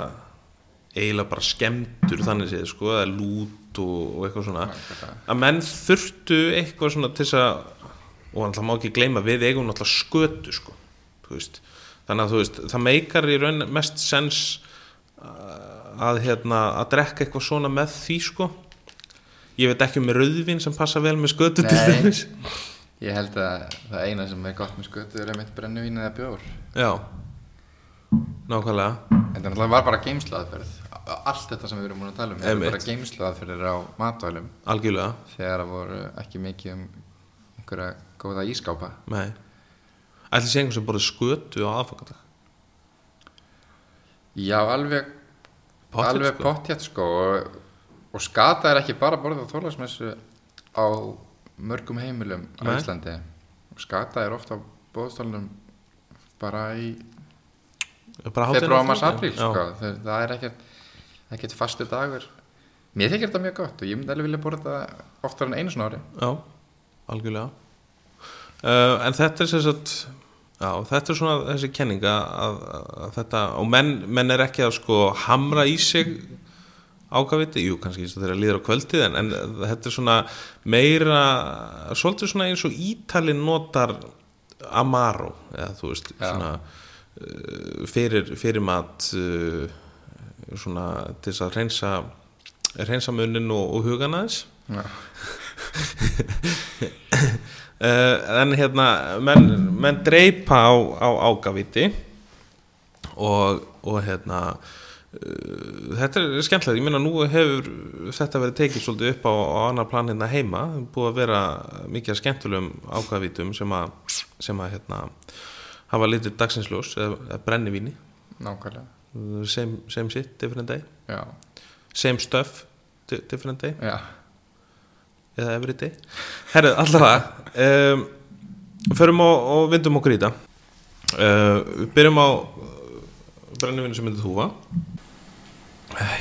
Speaker 1: eiginlega bara skemmtur þannig séð sko, eða lút og, og eitthvað svona að menn þurftu eitthvað svona til þess að og alltaf má ekki gleyma við eigum náttúrulega skötu sko, þú veist þannig að þú veist, það meikar í raun mest sens uh, að hérna, að drekka eitthvað svona með því sko ég veit ekki um rauðvin sem passa vel með skötu til
Speaker 2: Nei.
Speaker 1: þess
Speaker 2: ég held að það eina sem er gott með skötu er einmitt brennivín eða bjór
Speaker 1: já nákvæmlega
Speaker 2: Þetta náttúrulega var bara geimslaðferð Allt þetta sem við erum múin að tala um Þetta
Speaker 1: Einmitt.
Speaker 2: er bara geimslaðferðir á matvælum
Speaker 1: algjörlega
Speaker 2: Þegar það voru ekki mikið um einhverja góða ískápa
Speaker 1: Nei Ætli sé einhvern sem borðið skötu á aðfangardag
Speaker 2: Já, alveg
Speaker 1: Pottþétt,
Speaker 2: Alveg
Speaker 1: sko.
Speaker 2: pottjætt sko og, og skata er ekki bara borðið á þólasmessu á mörgum heimilum á
Speaker 1: Nei.
Speaker 2: Íslandi og skata er ofta á bóðstólunum bara í februar, mars, apríl sko. það, það er ekkert, ekkert fastu dagur Mér þykir þetta mjög gott og ég myndi alveg vilja borða það oftar en einu svona ári
Speaker 1: Já, algjörlega uh, En þetta er sem sagt Já, þetta er svona þessi kenning að, að, að þetta, og menn, menn er ekki að sko hamra í sig ágaviti, jú kannski eins og þeirra líður á kvöldið en, en þetta er svona meira, svolítið svona eins og Ítalin notar Amaro, eða þú veist eh,
Speaker 2: Já.
Speaker 1: svona, uh, fyrir, fyrir mat uh, svona til þess að reynsa reynsa munnin og, og hugan aðeins
Speaker 2: Já.
Speaker 1: uh, en hérna menn, menn dreipa á, á ágaviti og, og hérna uh, þetta er skemmtilegt, ég meina nú hefur þetta verið tekið svolítið upp á, á annar plan hérna heima, búið að vera mikið af skemmtilegum ágavitum sem að, sem að hérna hafa litið dagsinsljós eða, eða brennivíni
Speaker 2: Nákvæmlega
Speaker 1: same, same shit, different day
Speaker 2: Já,
Speaker 1: same stuff, di- different day
Speaker 2: já,
Speaker 1: eða every day herru, allavega um, förum og, og vindum okkur í þetta uh, við byrjum á brennivinu sem myndið húfa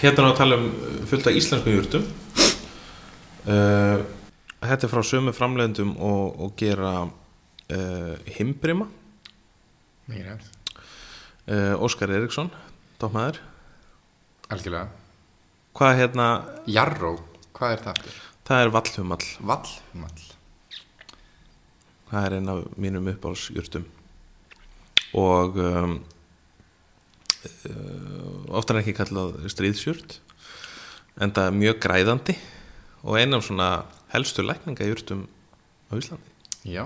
Speaker 1: hérna er að tala um uh, fullt af íslenskum júrtum uh, þetta er frá sömu framleiðendum og, og gera uh, himbrima
Speaker 2: mikið rétt
Speaker 1: uh, Óskar Eriksson, tókmaður
Speaker 2: Algjörlega
Speaker 1: hvað hérna,
Speaker 2: Jarró, hvað er það aftur?
Speaker 1: það er vallhumall
Speaker 2: Vallmall
Speaker 1: það er einn af mínum uppáhalsjurtum og um, uh, oftar en ekki kallað stríðsjurt en það er mjög græðandi og einn af svona helstu lækningajurtum á Íslandi
Speaker 2: Já,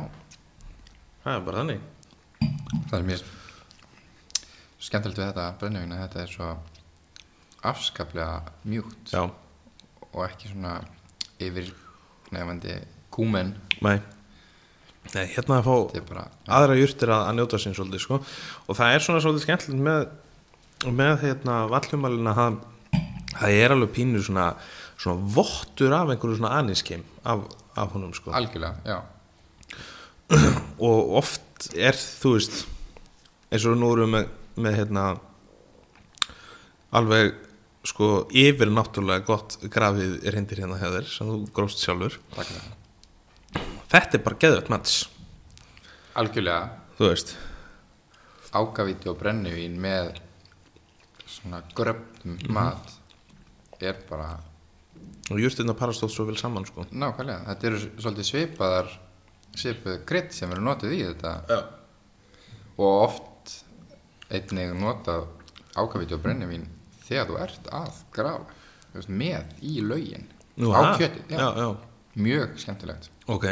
Speaker 1: það er bara þannig
Speaker 2: það er mjög skemmtilegt við þetta brennivina þetta er svo afskaplega mjúkt
Speaker 1: já,
Speaker 2: og ekki svona yfir nefandi kúmen
Speaker 1: nei Nei, hérna að fá
Speaker 2: þetta er bara
Speaker 1: aðra jurtir að, að njóta sín svolítið sko. og það er svona svolítið skemmtilegt með, með hérna, vallhumalina það, það er alveg pínu svona, svona vottur af einhverju svona aniskeim af, af honum sko.
Speaker 2: algjörlega, já,
Speaker 1: og oft er þú veist eins og nú erum við með, með hérna alveg sko yfir náttúrulega gott grafið reyndir hérna hjá þér sem þú grófst sjálfur
Speaker 2: takk fyrir það.
Speaker 1: þetta er bara geðvægt mats
Speaker 2: algjörlega
Speaker 1: þú veist
Speaker 2: ágavíti og brennivín með svona gröfnum mat er bara
Speaker 1: og júrtirna parastótt svo vel saman sko
Speaker 2: nákvæmlega, þetta eru svolítið svipaðar svipuð krydd sem eru notið í þetta
Speaker 1: Já.
Speaker 2: og oft einnig notað ágavíti og brennivín þegar þú ert að grafa þú veist, með í lögin
Speaker 1: Nú,
Speaker 2: á
Speaker 1: ha?
Speaker 2: kjöti, já,
Speaker 1: já, já,
Speaker 2: mjög skemmtilegt
Speaker 1: ok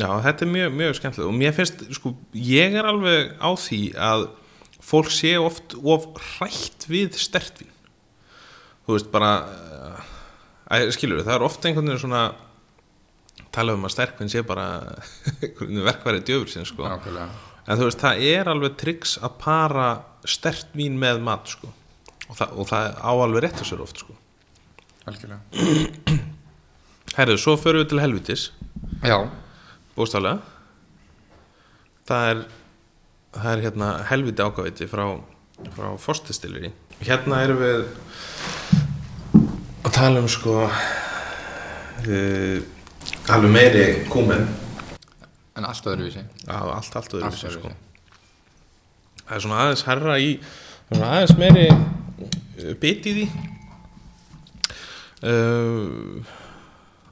Speaker 1: já, þetta er mjög, mjög skemmtilega og mér finnst, sko, ég er alveg á því að fólk sé oft of hrætt við stertvín þú veist, bara eh, að, skilur við, það er oft einhvern veginn svona tala um að sterkvinn sé bara einhvern verkværi djöfur sko.
Speaker 2: nákvæmlega,
Speaker 1: en þú veist, það er alveg tryggs að para stertvín með mat sko. og, það, og það á alveg rétt á sér oft sko.
Speaker 2: algjörlega
Speaker 1: herðu, svo förum við til helvitis
Speaker 2: já,
Speaker 1: bóstaflega það er það er hérna helviti ákvæði frá, frá fórstistilir í hérna erum við að tala um sko uh, alveg meiri kúmen
Speaker 2: en allt öðruvísi
Speaker 1: á allt, allt öðru
Speaker 2: allt
Speaker 1: sko.
Speaker 2: öðruvísi,
Speaker 1: það er svona aðeins herra í það er svona aðeins meiri uh, bit í því uh,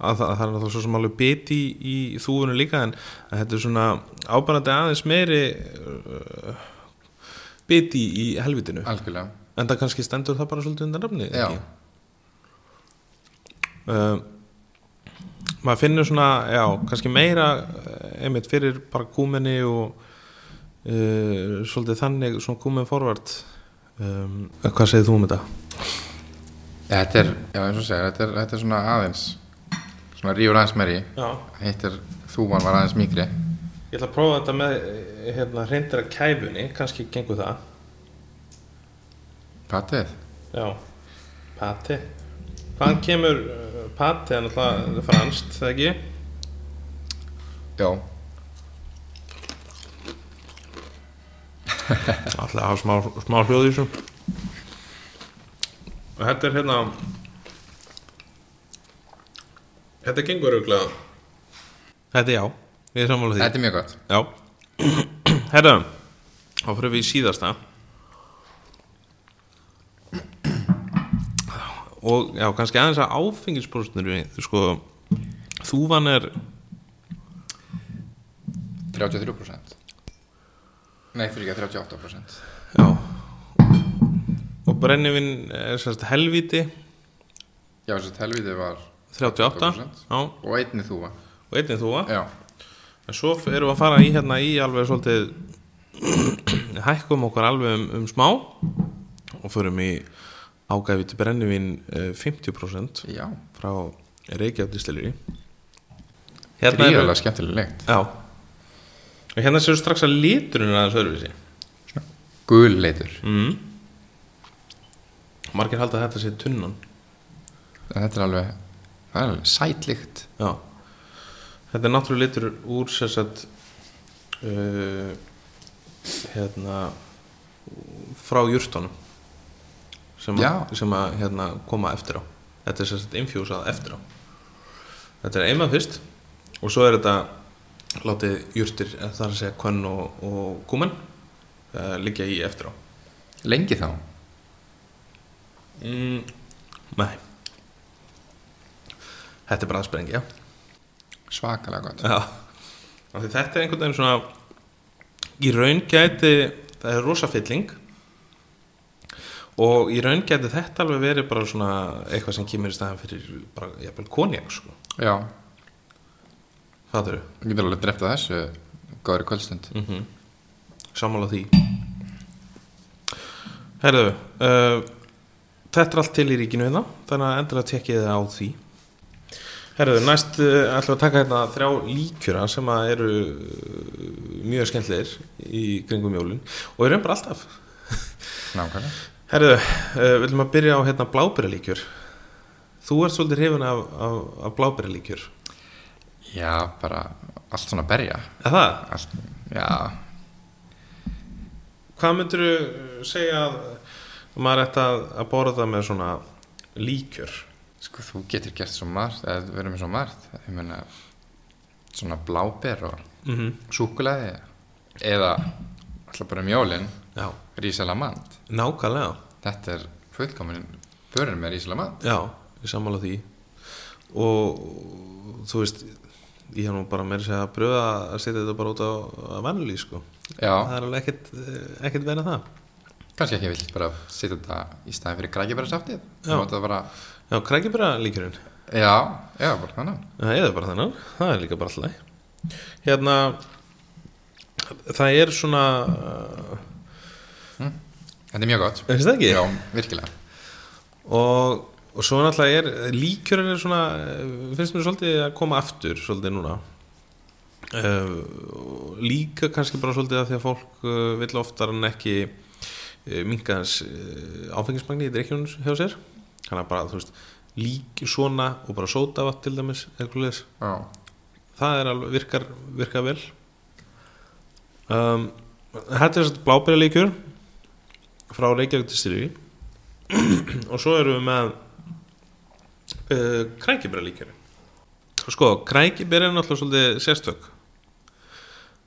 Speaker 1: að það, það er náttúrulega svo sem alveg bit í, í þúfunu líka en en þetta er svona ábærandi aðeins meiri uh, bit í, í helvitinu
Speaker 2: algjörlega
Speaker 1: en það kannski stendur það bara svolítið undan rafni
Speaker 2: já,
Speaker 1: uh, maður finnur svona já, kannski meira eh, einmitt fyrir bara kúmenni og uh, svolítið þannig svona kúmen forvart um, hvað segir þú um þetta?
Speaker 2: Þetta er, já eins og segja, þetta er, þetta er svona aðeins svona rífur aðeins meiri
Speaker 1: Já,
Speaker 2: hitt er þúvan var aðeins mikri
Speaker 1: ég ætla að prófa þetta með hérna, reyndara kæfunni, kannski gengur það
Speaker 2: Patið,
Speaker 1: já, pati hvaðan kemur uh, pati en alltaf franskt, það ekki?
Speaker 2: já,
Speaker 1: Alltaf hafa smá, smá hljóð í þessu Og þetta er hérna Þetta gengur auðvitað Þetta er já, ég er sammála því
Speaker 2: þetta er mjög gott
Speaker 1: Já Herra, þá fyrir við í síðasta Og já, kannski aðeins að áfengisbrústnir Sko, þúfan er
Speaker 2: 33% Nei, fyrir ekki 38%
Speaker 1: Já Og brennivinn er sérst helviti
Speaker 2: Já, þess að helviti var
Speaker 1: 38 já, og
Speaker 2: og einni þúa
Speaker 1: einnig þúa
Speaker 2: Já,
Speaker 1: en svo f- erum við að fara í hérna í alveg svolítið hækkum okkur alveg um, um smá og förum í ágæfi til brennivinn 50%
Speaker 2: já,
Speaker 1: frá Reykjavík distilleri
Speaker 2: gríðarlega skemmtilega leikt
Speaker 1: já og hérna séu strax að liturinn aðeins öðruvísi
Speaker 2: Gul leitur,
Speaker 1: mm. margir halda að þetta sé tunnan
Speaker 2: en þetta er alveg, það er alveg sætlikt
Speaker 1: já þetta er náttúrulega litur úr sérsagt uh, hérna frá júrtunum sem,
Speaker 2: Já.
Speaker 1: að- sem að hérna, koma eftir á þetta er sérsagt infjúsað eftir á þetta er eimað fyrst og svo er þetta látið júrtir þar að segja kvönn og, og kúmen uh, liggja í eftir á
Speaker 2: Lengi þá,
Speaker 1: Mm, nei Þetta er bara aðsprengja
Speaker 2: svakalega gott
Speaker 1: Já Af því Þetta er einhvern veginn svona Í raun gæti Það er rosa fylling Og í raun gæti þetta alveg verið bara svona Eitthvað sem kemur í staðan fyrir bara, Jafnvel konjak sko
Speaker 2: Já,
Speaker 1: Það eru
Speaker 2: við getum alveg dreftað þessu góðri kvöldstund
Speaker 1: mm Sammála því Herðu uh, Þetta er allt til í ríkinu hérna Þannig að endur að tekja þið á því Herðu, næst uh, ætlum við að taka hérna þrjá líkjura sem að eru uh, mjög skemmtlegir í kringum jólin og erum bara alltaf
Speaker 2: Nákvæmlega
Speaker 1: Herðu, uh, við ætlum að byrja á hérna blábyrjalíkjur Þú ert svolítið hrifin af, af, af blábyrjalíkjur
Speaker 2: Já, bara allt svona berja
Speaker 1: Er það?
Speaker 2: allt, Já,
Speaker 1: Hvað myndur þú segja að maður ætti að, að borða með svona líkjör?
Speaker 2: sko þú getur gert svo margt eða verið með svo margt ég meina svona bláber og
Speaker 1: Mm -hmm.
Speaker 2: súkulaði eða alltaf bara mjólin
Speaker 1: Já,
Speaker 2: rísalamand
Speaker 1: nákvæmlega.
Speaker 2: þetta er fullkomin börn með rísalamand
Speaker 1: Já, ég sammála því. Og þú veist, ég hef nú bara meira að segja að pröfa að setja þetta bara út á að vennulí, sko. Það
Speaker 2: já,
Speaker 1: er alveg ekkert, eh, ekkert verið það.
Speaker 2: kannski ekki vilt bara setja þetta í staðin fyrir grækjabærasaftið
Speaker 1: Já.
Speaker 2: bara,
Speaker 1: Já, krækja bara líkjörinn.
Speaker 2: já, já, bara þannig
Speaker 1: Það er bara þennan, það er líka bara alltaf Hérna Það er svona eh,
Speaker 2: þetta er mjög gott
Speaker 1: Er þetta ekki?
Speaker 2: já, virkilega
Speaker 1: og, og svo náttúrulega er líkjörinn er svona, eh, finnst mér svolítið að koma aftur svolítið núna uh, líka kannski bara svolítið að því að fólk uh, vill oftar en ekki uh, minka hans uh, áfengismagni í drikkjunum hjá sér þannig að bara þú veist lík svona og bara sótavatt til dæmis eitthvað leðis
Speaker 2: já,
Speaker 1: það er alveg, virkar, virkar vel um, þetta er satt blábæralíkjur frá Reykjavík til Styrfi og svo erum við með uh, krækibæralíkjur sko, krækibær er náttúrulega svolítið sérstök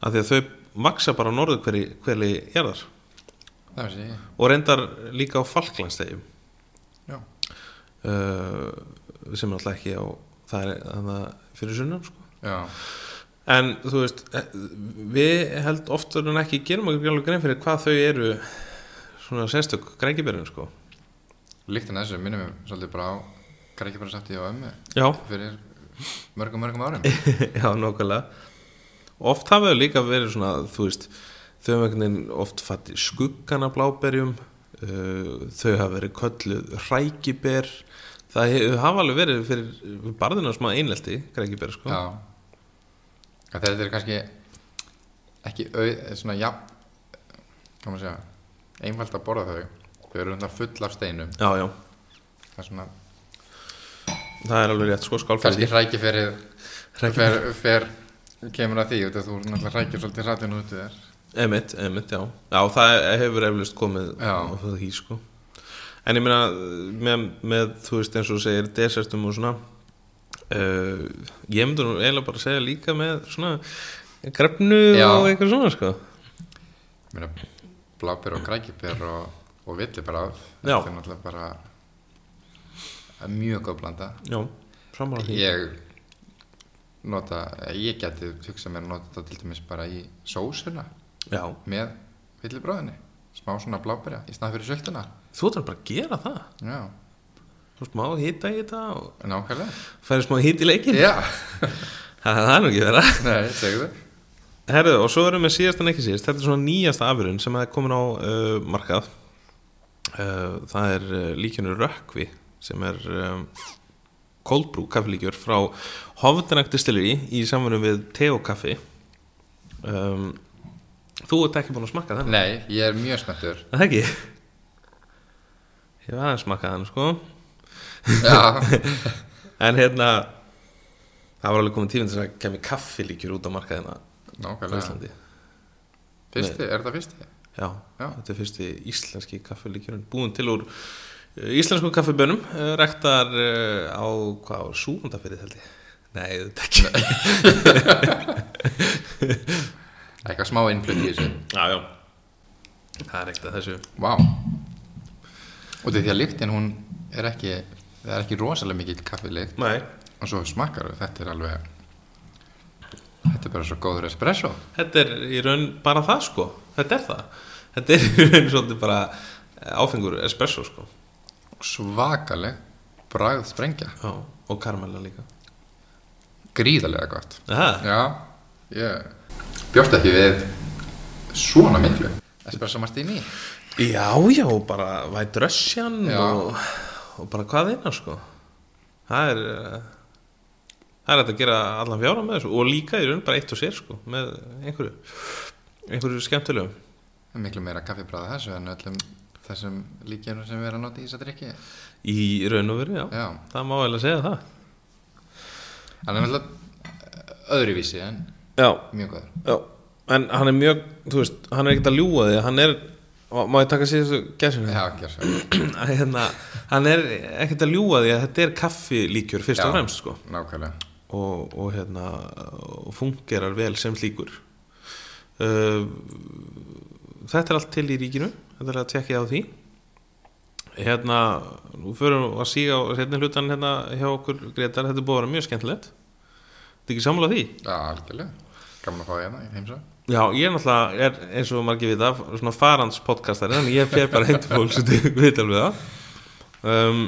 Speaker 1: af því að þau vaksa bara á norðu hverli, hverli jarðar
Speaker 2: það var sér
Speaker 1: og reyndar líka á falklandstegjum
Speaker 2: já,
Speaker 1: uh, sem er alltaf ekki á það er þannig fyrir sunnum sko
Speaker 2: já,
Speaker 1: En þú veist, við held oftur en ekki gerum okkur alveg grein fyrir hvað þau eru svona sérstök grækibyrðin sko.
Speaker 2: líktin þessu minnum við svolítið bara á grækjabærasaftið og ömmu
Speaker 1: Já,
Speaker 2: fyrir mörgum mörgum árum
Speaker 1: já, nokkulega. Oft hafa þau líka verið svona, þú veist, þau hafa einhvern veginn oft fatt í skuggana bláberjum, uh, þau hafa verið kölluð hrækibér, það he- hafa alveg verið fyrir barðina smá einlelti grækibér sko.
Speaker 2: já Að þetta er kannski ekki au, svona jafn kannu að segja einfalt að borða þau þau eru hundar full af steinum
Speaker 1: já, já,
Speaker 2: það er svona
Speaker 1: það er alveg rétt sko, skál fyrir
Speaker 2: kannski hræki fyrir
Speaker 1: Hræki-
Speaker 2: fer, fer kemur að því út að þú náttúrulega hrækir svolítið hrætin út í þér
Speaker 1: Emitt, emitt, já Já, það hefur eflust komið
Speaker 2: Já.
Speaker 1: á það hý, sko En ég meina, með, með þú veist eins og þú segir desertum og svona uh, Ég myndi nú eiginlega bara segja líka með svona grefnu
Speaker 2: Já.
Speaker 1: og eitthvað svona, sko
Speaker 2: Ég meina, blábyr og grækibir og, og villibráð
Speaker 1: Já.
Speaker 2: þetta er náttúrulega bara það er mjög góð blanda
Speaker 1: Já, sammála því
Speaker 2: ég nota, ég geti hugsað mér að nota þetta til dæmis bara í sósuna
Speaker 1: Já,
Speaker 2: með villibráðinni smá svona blábyrja í snað fyrir sultuna
Speaker 1: þú ætlar bara að gera það
Speaker 2: já,
Speaker 1: þú smá hita í þetta og
Speaker 2: nákvæmlega
Speaker 1: færi smá hita í leikin
Speaker 2: já,
Speaker 1: það, það er nú ekki vera
Speaker 2: nei, segðu það
Speaker 1: Herðu, og svo erum við síðast en ekki síðast þetta er svona nýjasta afurinn sem er komin á uh, markað uh, það er uh, líkjunur rökkvi sem er um, cold brew kaffilíkjur frá Hovdenak Distillery í samverðum við Teo kaffi um, þú ert ekki búin að smakka þennan
Speaker 2: nei, ég er mjög spenntur
Speaker 1: Er það ekki ég hef aðeins smakkað hann sko
Speaker 2: já,
Speaker 1: en hérna það var alveg komin tífinn til þess að kemur kaffilíkjur út á markaðina á
Speaker 2: nákvæmlega
Speaker 1: Íslandi
Speaker 2: fyrsti, er það fyrsti?
Speaker 1: Já,
Speaker 2: Já.
Speaker 1: þetta er fyrsti íslenski kaffelíkjurinn búin til úr eh, íslensku kaffebönum eh, rektar eh, á hvað á súgundafyrði held ég Nei, þetta ekki
Speaker 2: eitthvað smá innflut í þessu
Speaker 1: Já, já Það er ekkert að þessu
Speaker 2: vá og því að lyktin hún er ekki það er ekki rosalega mikil kaffilykt
Speaker 1: Nei,
Speaker 2: og svo smakkar þetta er alveg þetta er bara svo góður espresso
Speaker 1: þetta er í raun bara það sko Þetta er það Þetta er í raun svolítið bara eh, áfengur espresso sko
Speaker 2: svakaleg bragð sprengja
Speaker 1: Já, og karmela líka
Speaker 2: gríðarlega gott
Speaker 1: Aha.
Speaker 2: já, ég bjóst ekki við svona miklu espresso martini
Speaker 1: Já, já, og bara White Russian
Speaker 2: Já.
Speaker 1: og, og bara hvað eina sko Það er eh, það er hægt að gera allan fjára með þessu og líka í raun bara eitt og sér sko með einhverju einhverju skemmtilegum
Speaker 2: miklu meira kaffibræða þessu en öllum þessum líkjörnum sem við erum að nota í þess að drikki já,
Speaker 1: í raun og veru, já, það má vel að segja það
Speaker 2: hann er náttúrulega öðruvísi en
Speaker 1: Já,
Speaker 2: mjög góður
Speaker 1: já, en hann er mjög þú veist, hann er ekkert að ljúga því hann er, má ég taka sér þessu gæsina
Speaker 2: já, gerðsvæl,
Speaker 1: Að hérna, hann er ekkert að ljúga því að þetta er kaffilíkjur fyrst og
Speaker 2: Já.
Speaker 1: fremst sko
Speaker 2: nákvæmlega
Speaker 1: og, og hérna og fungerar vel sem slíkur uh, þetta er allt til í ríkinu þetta er að tekja á því hérna, nú förum að síga á hérna hlutan hérna hjá okkur Gretar, þetta er búið að vera mjög skemmtilegt þetta er ekki sammála því
Speaker 2: já, algjörlega, gaman að fá hérna í heimsá
Speaker 1: já, ég er náttúrulega, er, eins og margir vita svona farans podcastari, þannig ég fer bara heim til fólk sem þau veit alveg það um,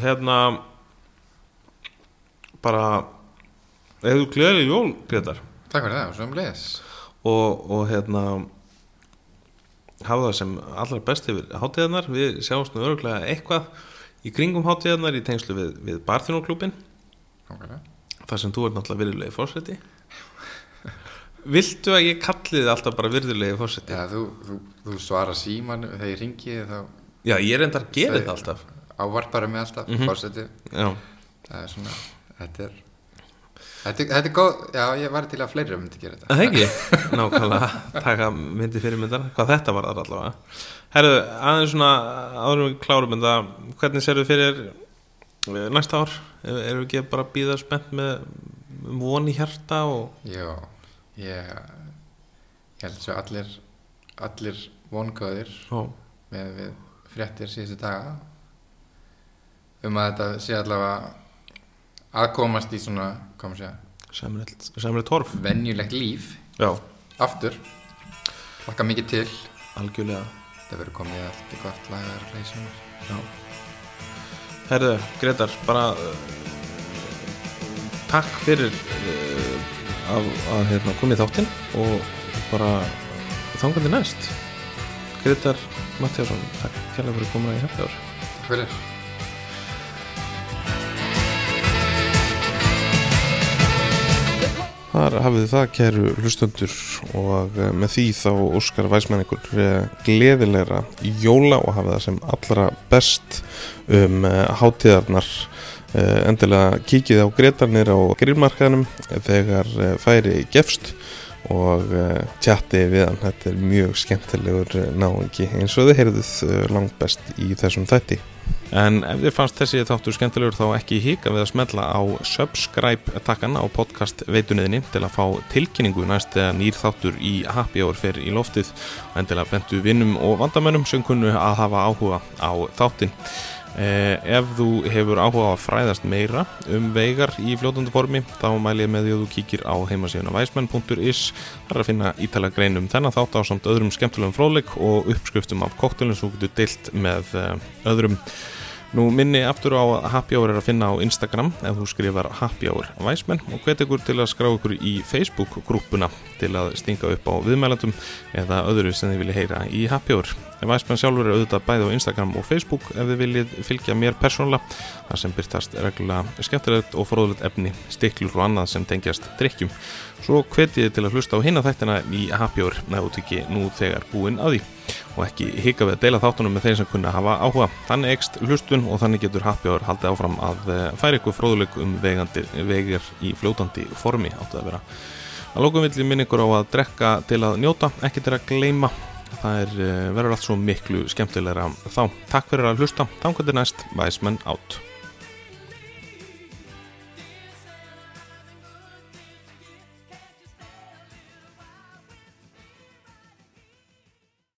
Speaker 1: hérna bara eða þú gleðið jól, Gretar
Speaker 2: takk fyrir það, og svo um leðis
Speaker 1: og, og hérna hafa það sem allra best yfir hátíðarnar við sjáumst nú öruglega eitthvað í kringum hátíðarnar í tengslu við, við barþjónuklúbin
Speaker 2: nákvæmlega
Speaker 1: þar sem þú ert náttúrulega virðulegi fórseti Viltu að ég kalli þið alltaf bara virðulegi fórseti?
Speaker 2: Já, þú, þú, þú svarar síman þegar ég ringi þá
Speaker 1: Já, ég reyndar að gera þetta alltaf
Speaker 2: ávarpar mig alltaf,
Speaker 1: Mhm.
Speaker 2: mm
Speaker 1: Já,
Speaker 2: það er svona, þetta er þetta, er- þetta er góð, já ég var til að fleiri myndi gera þetta
Speaker 1: það ekki Nákvæmlega, taka myndi fyrirmyndar Hvað þetta var þar allavega Herðu, aðeins svona, áðurum við klárum en það, hvernig serðu fyrir eh, næsta ár? Er- Erum við ekki bara að býða spennt með um von í hjarta og
Speaker 2: já, ég ég held svo allir allir vongóðir
Speaker 1: Ó,
Speaker 2: með við fréttir síðustu daga um að þetta sé allavega að komast í svona, kom að segja
Speaker 1: semrið, semrið torf
Speaker 2: venjulegt líf,
Speaker 1: Já,
Speaker 2: aftur lakka mikið til
Speaker 1: algjörlega
Speaker 2: það verður komið allt í gott lagar og leysumar
Speaker 1: Já. Herðu, Gretar, bara uh, takk fyrir uh, að, að hérna, komið þáttinn og bara þangandi næst Gretar Matthjásson, takk kærlega fyrir komuna í hefðjár
Speaker 2: hver er?
Speaker 3: Þar hafið þið það kæru hlustundur og eh, með því þá óskar væsmenn ykkur eh, gleðilegra jóla og hafið það sem allra best um eh, hátíðarnar Eh, endilega kíkið á Gretarnir á grillmarkaðnum þegar eh, færi gefst og eh, tjatti við hann þetta er mjög skemmtilegur eh, náungi eins og þið heyrðuð eh, langt best í þessum þætti En ef þið fannst þessi þáttur skemmtilegur þá ekki hika við að smetla á subscribe takkan á podcast veituninni til að fá tilkynningu næst eða nýr þáttur í happy hour fer í loftið og endilega bentu vinnum og vandamönnum sem kunnu að hafa áhuga á þáttin.
Speaker 1: Eh, ef þú hefur áhuga á að fræðast meira um veigar í fljótandi formi þá mæli ég með því að þú kíkir á heimasíðuna væsmenn.is þar er að finna ítala grein um þennan þátt á samt öðrum skemmtulegum fróðleik og uppskriftum af koktelum svo getur deilt með eh, öðrum Nú minni aftur á að Happy Hour er að finna á Instagram ef þú skrifar Happy Hour Væsmenn og hvet ykkur til að skrá ykkur í Facebook-grúpuna til að stinga upp á viðmælandum eða öðru sem þið viljið heyra í Happy Hour. Væsmenn sjálfur er auðvitað bæði á Instagram og Facebook ef þið viljið fylgja mér persónulega þar sem byrtast reglulega skemmtilegt og fróðulegt efni, stiklur og annað sem tengjast drikkjum. Svo hvet ég þið til að hlusta á hinna þættina í Happy Hour ef þú tekið nú þegar búin að því og ekki hika við að deila þáttunum með þeir sem kunna hafa áhuga. Þannig ekst hlustun og þannig getur Happy Hour haldið áfram að eh, færa ykkur fróðuleik um vegandi, vegir í fljótandi formi áttu að vera. Að lókum vill ég minn ykkur á að drekka til að njóta, ekki til að gleyma. Það er, eh, verður allt svo miklu skemmtilegra þá. Takk fyrir að hlusta, þangar til næst, væsmenn átt.